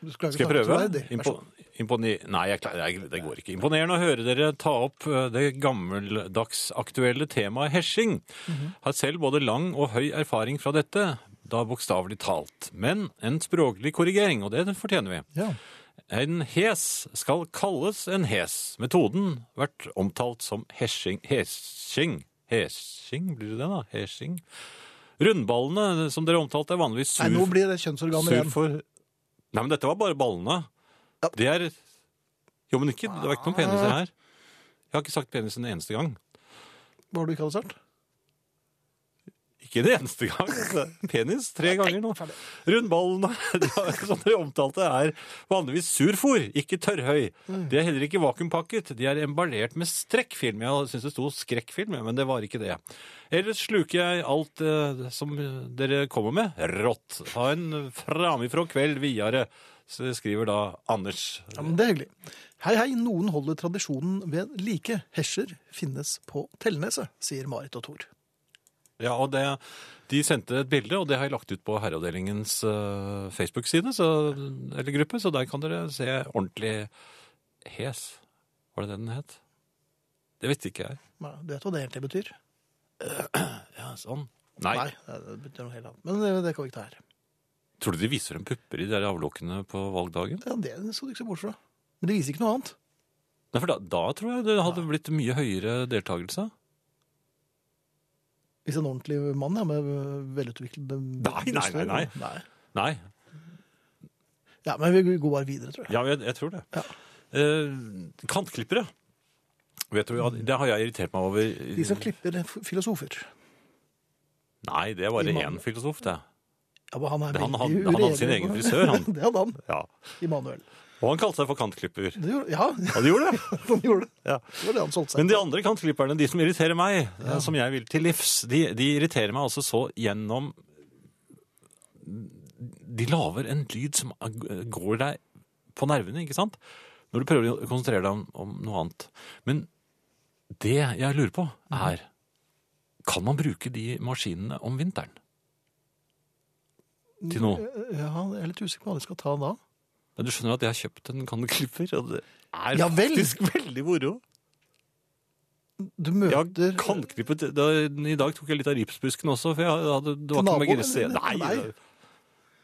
[SPEAKER 1] Du skulle
[SPEAKER 2] Skal jeg
[SPEAKER 1] ikke snakke
[SPEAKER 2] prøve?
[SPEAKER 1] til deg, det. Vær så
[SPEAKER 2] Impo imponi nei, jeg klarer, jeg, det går ikke. Imponerende å høre dere ta opp eh, det gammeldagsaktuelle temaet hesjing.
[SPEAKER 1] Mhm.
[SPEAKER 2] Har selv både lang og høy erfaring fra dette, da bokstavelig talt. Men en språklig korrigering, og det fortjener vi.
[SPEAKER 1] god. Ja.
[SPEAKER 2] En hes skal kalles en hes. Metoden vært omtalt som hesjing. Hesjing. Hesjing blir det det, da? Hesjing. Rundballene som dere omtalte, er vanligvis sur
[SPEAKER 1] Nei, nå blir det kjønnsorganet
[SPEAKER 2] Sur
[SPEAKER 1] igjen.
[SPEAKER 2] for Nei, men dette var bare ballene. Det er Jo, men ikke, det var ikke noen peniser her. Jeg har ikke sagt penis en eneste gang.
[SPEAKER 1] Hva har du ikke hadde sagt?
[SPEAKER 2] Ikke en eneste gang. altså. Penis tre ganger nå. (laughs) Rundballene de har- som dere omtalte, er vanligvis surfòr, ikke tørrhøy. De er heller ikke vakuumpakket. De er emballert med strekkfilm. Jeg syns det sto skrekkfilm, men det var ikke det. Ellers sluker jeg alt eh, som dere kommer med, rått. Ha en framifrå kveld videre, så skriver da Anders.
[SPEAKER 1] Ja, men Det er hyggelig. Hei, hei, noen holder tradisjonen ved like. Hesjer finnes på Telneset, sier Marit og Tor.
[SPEAKER 2] Ja, og det, De sendte et bilde, og det har jeg lagt ut på Herreavdelingens eh, Facebook-side så- eller gruppe, så der kan dere se ordentlig hes. Var det det den het? Det visste ikke jeg.
[SPEAKER 1] Nei, Du vet hva det egentlig betyr?
[SPEAKER 2] Ja, sånn. Nei.
[SPEAKER 1] det betyr noe helt annet. Men det, det kan vi ikke ta her.
[SPEAKER 2] Tror du de viser dem pupper i de der avlukkene på valgdagen?
[SPEAKER 1] Ja, det skal du ikke se bort fra. Men det viser ikke noe annet.
[SPEAKER 2] Nei, for da, da tror jeg det hadde blitt mye høyere deltakelse.
[SPEAKER 1] Hvis en ordentlig mann ja, med velutviklede
[SPEAKER 2] Nei, nei,
[SPEAKER 1] bryster-
[SPEAKER 2] nei, nei. Nei.
[SPEAKER 1] Ja, men vi går bare videre, tror jeg.
[SPEAKER 2] Ja, jeg, jeg tror det.
[SPEAKER 1] Ja.
[SPEAKER 2] Eh, kantklippere. Vet du, hva, det har jeg irritert meg over.
[SPEAKER 1] De som klipper f- filosofer.
[SPEAKER 2] Nei, det er bare
[SPEAKER 1] Imam.
[SPEAKER 2] én filosof, det.
[SPEAKER 1] Ja, men han er
[SPEAKER 2] Han- han-
[SPEAKER 1] veldig
[SPEAKER 2] han hadde
[SPEAKER 1] uredelig.
[SPEAKER 2] sin egen frisør, han.
[SPEAKER 1] (laughs) det hadde han.
[SPEAKER 2] Ja.
[SPEAKER 1] Immanuel.
[SPEAKER 2] Og han kalte seg for kantklipper.
[SPEAKER 1] Det gjorde, ja, (laughs)
[SPEAKER 2] Ja, det gjorde det.
[SPEAKER 1] han gjorde det.
[SPEAKER 2] Ja.
[SPEAKER 1] Det var det han solgte seg.
[SPEAKER 2] Men de andre kantklipperne, de som irriterer meg, eh, som jeg vil til livs, de, de irriterer meg altså så gjennom De lager en lyd som eh, går deg på nervene, ikke sant? Når du prøver å konsentrere deg om, om noe annet. Men det jeg lurer på, er Kan man bruke de maskinene om vinteren? Til noe?
[SPEAKER 1] Ja, jeg er litt usikker på hva de skal ta da.
[SPEAKER 2] Men du skjønner at jeg har kjøpt en kannklipper, og det er
[SPEAKER 1] Ja vel.
[SPEAKER 2] faktisk veldig moro.
[SPEAKER 1] Du
[SPEAKER 2] Ja,
[SPEAKER 1] møter
[SPEAKER 2] kantklippet da, I dag tok jeg litt av ripsbusken også, for jeg hadde, det
[SPEAKER 1] Til
[SPEAKER 2] var ikke med
[SPEAKER 1] naboen,
[SPEAKER 2] gresset.
[SPEAKER 1] eller?
[SPEAKER 2] Nei,
[SPEAKER 1] Nei.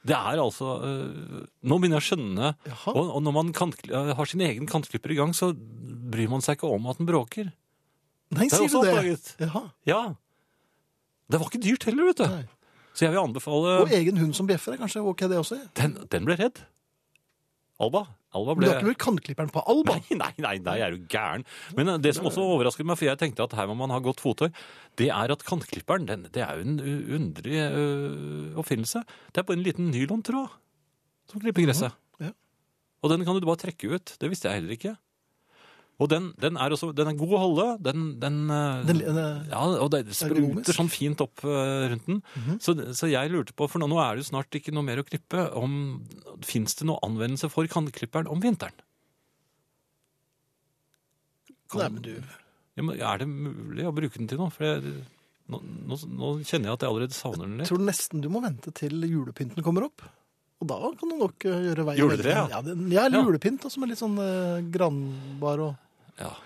[SPEAKER 2] Det er altså øh, Nå begynner jeg å skjønne
[SPEAKER 1] Jaha.
[SPEAKER 2] og, og når man kantkli- øh, har sin egen kantklipper i gang, så bryr man seg ikke om at den bråker.
[SPEAKER 1] Nei,
[SPEAKER 2] Det er
[SPEAKER 1] sier du
[SPEAKER 2] også
[SPEAKER 1] det?
[SPEAKER 2] oppdaget.
[SPEAKER 1] Jaha.
[SPEAKER 2] Ja. Det var ikke dyrt heller, vet du.
[SPEAKER 1] Nei.
[SPEAKER 2] Så jeg vil anbefale
[SPEAKER 1] Og egen hund som bjeffer er kanskje ok, det også.
[SPEAKER 2] den, den ble redd. Alba. Alba
[SPEAKER 1] Men du
[SPEAKER 2] ble
[SPEAKER 1] har ikke brukt kantklipperen på Alba?
[SPEAKER 2] (laughs) Nei, nei, nei, nei, jeg er jo gæren. Men eh, det som også overrasket meg, for jeg tenkte at her må man ha godt fottøy, det er at kantklipperen, den, det er jo en u- underlig ø, oppfinnelse. Det er bare en liten nylontråd som klipper gresset.
[SPEAKER 1] ja.
[SPEAKER 2] Og den kan du bare trekke ut. Det visste jeg heller ikke. Og den, den er også, den er god å holde. Den, den, eh,
[SPEAKER 1] Den, den,
[SPEAKER 2] ja, og det
[SPEAKER 1] Ergonomisk.
[SPEAKER 2] spruter sånn fint opp eh, rundt den.
[SPEAKER 1] Mhm.
[SPEAKER 2] så, så jeg lurte på, for nå, nå er det jo snart ikke noe mer å klippe, om fins det noe anvendelse for kantklipperen om vinteren? Kan-
[SPEAKER 1] nei, men du
[SPEAKER 2] Ja, men er det mulig å bruke den til noe? For jeg, nå, nå, nå kjenner jeg at jeg allerede savner den
[SPEAKER 1] Jeg
[SPEAKER 2] litt.
[SPEAKER 1] tror nesten du må vente til julepynten kommer opp. Og da kan du nok eh, gjøre veien.
[SPEAKER 2] Juletre, ja.
[SPEAKER 1] Ja, den- ja eller
[SPEAKER 2] Ja.
[SPEAKER 1] julepynt, da, som er litt sånn eh, granbar og
[SPEAKER 2] Ja.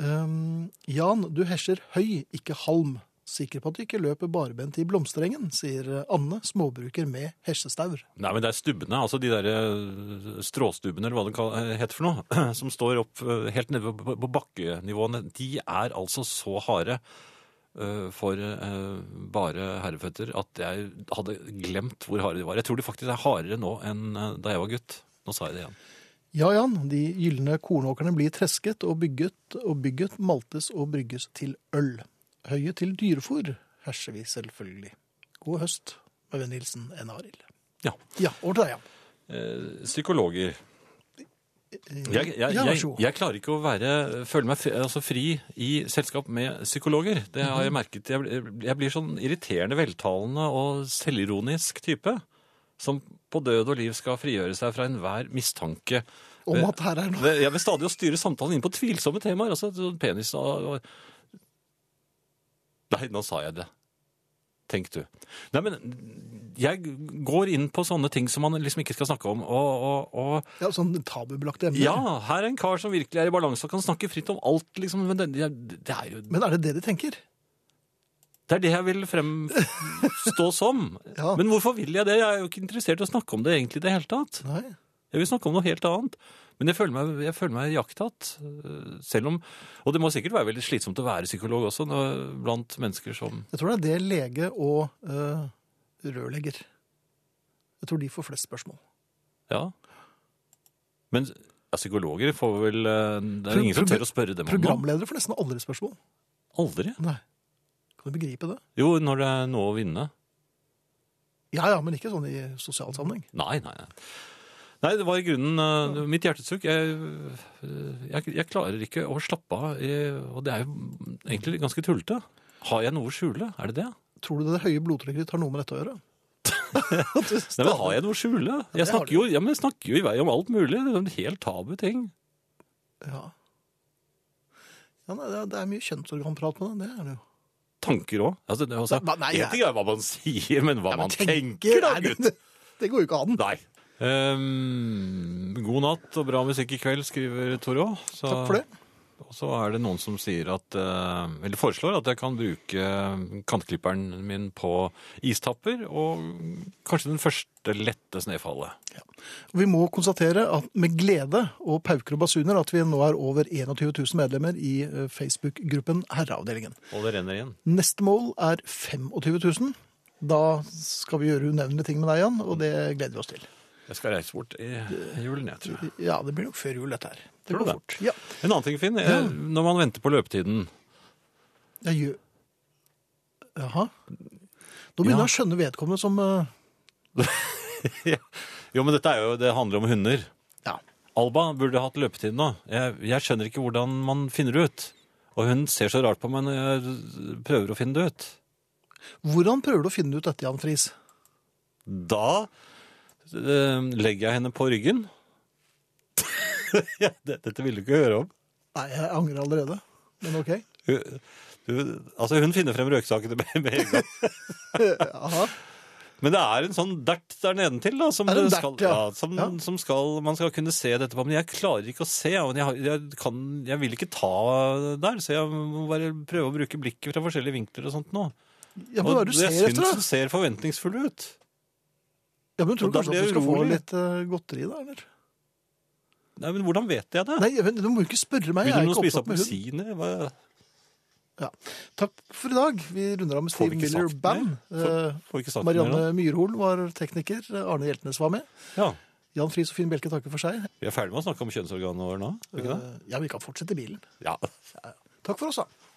[SPEAKER 1] Ehm, Jan, du hesjer høy, ikke halm. Sikker på at du ikke løper barbent i blomsterengen, sier eh, Anne, småbruker med hesjestaur.
[SPEAKER 2] Nei, men det er stubbene, altså de der eh, stråstubbene, eller hva det kall- eh, heter for noe, (clears throat) som står opp eh, helt nede på- på på bakkenivåene, de er altså så harde eh, for eh, bare herreføtter at jeg hadde glemt hvor harde de var. Jeg tror de faktisk er hardere nå enn eh, da jeg var gutt. Nå sa jeg det igjen.
[SPEAKER 1] Ja, Jan, de gylne kornåkrene blir tresket og bygget og bygget, maltes og brygges til øl. Høyet til dyrefôr hesjer vi selvfølgelig. God høst, med vennlig hilsen N. Arild.
[SPEAKER 2] Ja.
[SPEAKER 1] Ja, over til deg, Jan.
[SPEAKER 2] Eh, Psykologer.
[SPEAKER 1] Eh,
[SPEAKER 2] Jeg, jeg,
[SPEAKER 1] ja, vær
[SPEAKER 2] jeg,
[SPEAKER 1] så god.
[SPEAKER 2] jeg klarer ikke å være, føle meg fri, altså fri i selskap med psykologer. Det
[SPEAKER 1] Mhm.
[SPEAKER 2] har jeg merket. Jeg, blir- jeg blir sånn irriterende veltalende og selvironisk type. Som på død og liv skal frigjøre seg fra enhver mistanke.
[SPEAKER 1] Om at her er noe
[SPEAKER 2] Det- Jeg vil stadig å styre samtalen inn på tvilsomme temaer. Altså sånn penis og, og Nei, nå sa jeg det. Tenk du. Nei, men jeg går inn på sånne ting som man liksom ikke skal snakke om. og, og, og
[SPEAKER 1] ja, sånn tabubelagte emner.
[SPEAKER 2] ja, her er en kar som virkelig er i balanse og kan snakke fritt om alt, liksom. Men det, det, det er jo
[SPEAKER 1] Men er det det de tenker?
[SPEAKER 2] Det er det jeg vil fremstå som.
[SPEAKER 1] (laughs) Ja.
[SPEAKER 2] Men hvorfor vil jeg det? Jeg er jo ikke interessert i å snakke om det egentlig i det hele tatt.
[SPEAKER 1] Nei.
[SPEAKER 2] Jeg vil snakke om noe helt annet. Men jeg føler meg, jeg føler meg jaktatt. øh, Selv om Og det må sikkert være veldig slitsomt å være psykolog også, når, blant mennesker som
[SPEAKER 1] Jeg tror det er det lege og eh, rørlegger. Jeg tror de får flest spørsmål.
[SPEAKER 2] Ja. Men ja, psykologer får vel øh, Det
[SPEAKER 1] Pro-
[SPEAKER 2] er ingen som
[SPEAKER 1] pro-
[SPEAKER 2] tør å spørre dem om noe.
[SPEAKER 1] Programledere får nesten aldri spørsmål.
[SPEAKER 2] Aldri.
[SPEAKER 1] Nei. Kan du begripe det?
[SPEAKER 2] Jo, når det er noe å vinne.
[SPEAKER 1] Ja ja, men ikke sånn i sosial sammenheng.
[SPEAKER 2] Nei, nei, nei. Nei, det var i grunnen eh, mitt hjertesukk. Jeg, eh, jeg, jeg klarer ikke å slappe av, i- og det er jo egentlig ganske tullete. Har jeg noe å skjule? Er det det?
[SPEAKER 1] Tror du det høye blodtrykket ditt har noe med dette å gjøre? At du
[SPEAKER 2] Nei, men
[SPEAKER 1] stadig-
[SPEAKER 2] har jeg noe å skjule?
[SPEAKER 1] det
[SPEAKER 2] Jeg
[SPEAKER 1] har
[SPEAKER 2] snakker jo, ja, men jeg snakker jo i vei om alt mulig. Det er en helt tabu ting.
[SPEAKER 1] Ja. Ja, nei, det er- det er mye kjønnsorganprat med det. Det er det jo.
[SPEAKER 2] Tanker òg. Altså, det er altså,
[SPEAKER 1] Nei, nei,
[SPEAKER 2] en
[SPEAKER 1] jeg-
[SPEAKER 2] ting er hva man sier, men hva
[SPEAKER 1] Ja, men
[SPEAKER 2] man tenker, da,
[SPEAKER 1] nei,
[SPEAKER 2] gutt!
[SPEAKER 1] Det, (laughs) det går jo ikke an.
[SPEAKER 2] Nei. Ehm, god natt og bra musikk i kveld, skriver Toro. Så-
[SPEAKER 1] Takk for det.
[SPEAKER 2] Og så er det noen som sier at, eh, eller foreslår at jeg kan bruke eh, kantklipperen min på istapper, og kanskje den første lette snøfallet.
[SPEAKER 1] Vi må konstatere at med glede og pauker og basuner at vi nå er over 21 000 medlemmer i eh, Facebook-gruppen Herreavdelingen.
[SPEAKER 2] Og det renner igjen.
[SPEAKER 1] Neste mål er 25 000. Da skal vi gjøre unevnelige ting med deg, Jan, og det gleder vi oss til.
[SPEAKER 2] Jeg skal reise bort i julen, jeg tror. jeg.
[SPEAKER 1] Ja, det blir nok før jul, dette her.
[SPEAKER 2] Tror du
[SPEAKER 1] går
[SPEAKER 2] det?
[SPEAKER 1] fort. Ja.
[SPEAKER 2] En annen ting, Finn, er når man venter på (laughs) løpetiden.
[SPEAKER 1] Jeg gjør Jaha. Nå begynner
[SPEAKER 2] Ja.
[SPEAKER 1] jeg å skjønne vedkommende som eh,
[SPEAKER 2] Jo, men dette er jo, det handler om hunder.
[SPEAKER 1] Ja.
[SPEAKER 2] Alba burde hatt løpetid nå. Jeg, jeg skjønner ikke hvordan man finner det ut. Og hun ser så rart på meg når jeg prøver å finne det ut.
[SPEAKER 1] Hvordan prøver du å finne ut dette, Jan Friis?
[SPEAKER 2] Da eh, legger jeg henne på ryggen. (laughs) Ja, det- Dette ville du ikke høre om.
[SPEAKER 1] Nei, jeg angrer allerede. Men OK.
[SPEAKER 2] Hun, du, altså, hun finner frem røyksaken med med en gang.
[SPEAKER 1] Aha.
[SPEAKER 2] Men det er en sånn dert der nedentil, da, som,
[SPEAKER 1] Er det en
[SPEAKER 2] det
[SPEAKER 1] dert,
[SPEAKER 2] skal, ja.
[SPEAKER 1] ja?
[SPEAKER 2] som,
[SPEAKER 1] Ja.
[SPEAKER 2] som skal, man skal kunne se dette på. Men jeg klarer ikke å se. og Jeg, har- jeg, kan, jeg vil ikke ta der, så jeg må bare prøve å bruke blikket fra forskjellige vinkler og sånt nå.
[SPEAKER 1] Ja, men hva er det du
[SPEAKER 2] jeg
[SPEAKER 1] ser
[SPEAKER 2] syns
[SPEAKER 1] etter,
[SPEAKER 2] hun
[SPEAKER 1] da?
[SPEAKER 2] ser forventningsfull ut.
[SPEAKER 1] Ja, men Tror
[SPEAKER 2] Og
[SPEAKER 1] du
[SPEAKER 2] da
[SPEAKER 1] kanskje
[SPEAKER 2] blir
[SPEAKER 1] at du
[SPEAKER 2] jeg
[SPEAKER 1] skal få
[SPEAKER 2] urolig.
[SPEAKER 1] litt eh, godteri, da? eller?
[SPEAKER 2] Nei, men Hvordan vet jeg det?
[SPEAKER 1] Nei, vent, du må jo ikke spørre meg.
[SPEAKER 2] Vil
[SPEAKER 1] Jeg er
[SPEAKER 2] hun nå
[SPEAKER 1] ikke
[SPEAKER 2] spise
[SPEAKER 1] opptatt med hund.
[SPEAKER 2] appelsiner? Hva-
[SPEAKER 1] Ja. Takk for i dag. Vi runder av med
[SPEAKER 2] Får
[SPEAKER 1] Steve
[SPEAKER 2] vi ikke
[SPEAKER 1] Miller
[SPEAKER 2] sagt
[SPEAKER 1] Band.
[SPEAKER 2] mer? Får-
[SPEAKER 1] Eh,
[SPEAKER 2] får vi ikke sagt mer
[SPEAKER 1] Marianne
[SPEAKER 2] nå?
[SPEAKER 1] Myrhol var tekniker. Arne Hjeltnes var med.
[SPEAKER 2] Ja,
[SPEAKER 1] Jan Friis og Finn Bjelke takker for seg.
[SPEAKER 2] Vi er ferdig med å snakke om kjønnsorganet vårt nå? er vi Ikke det?
[SPEAKER 1] Eh, Ja, vi kan fortsette i bilen.
[SPEAKER 2] Ja.
[SPEAKER 1] Takk for oss, da.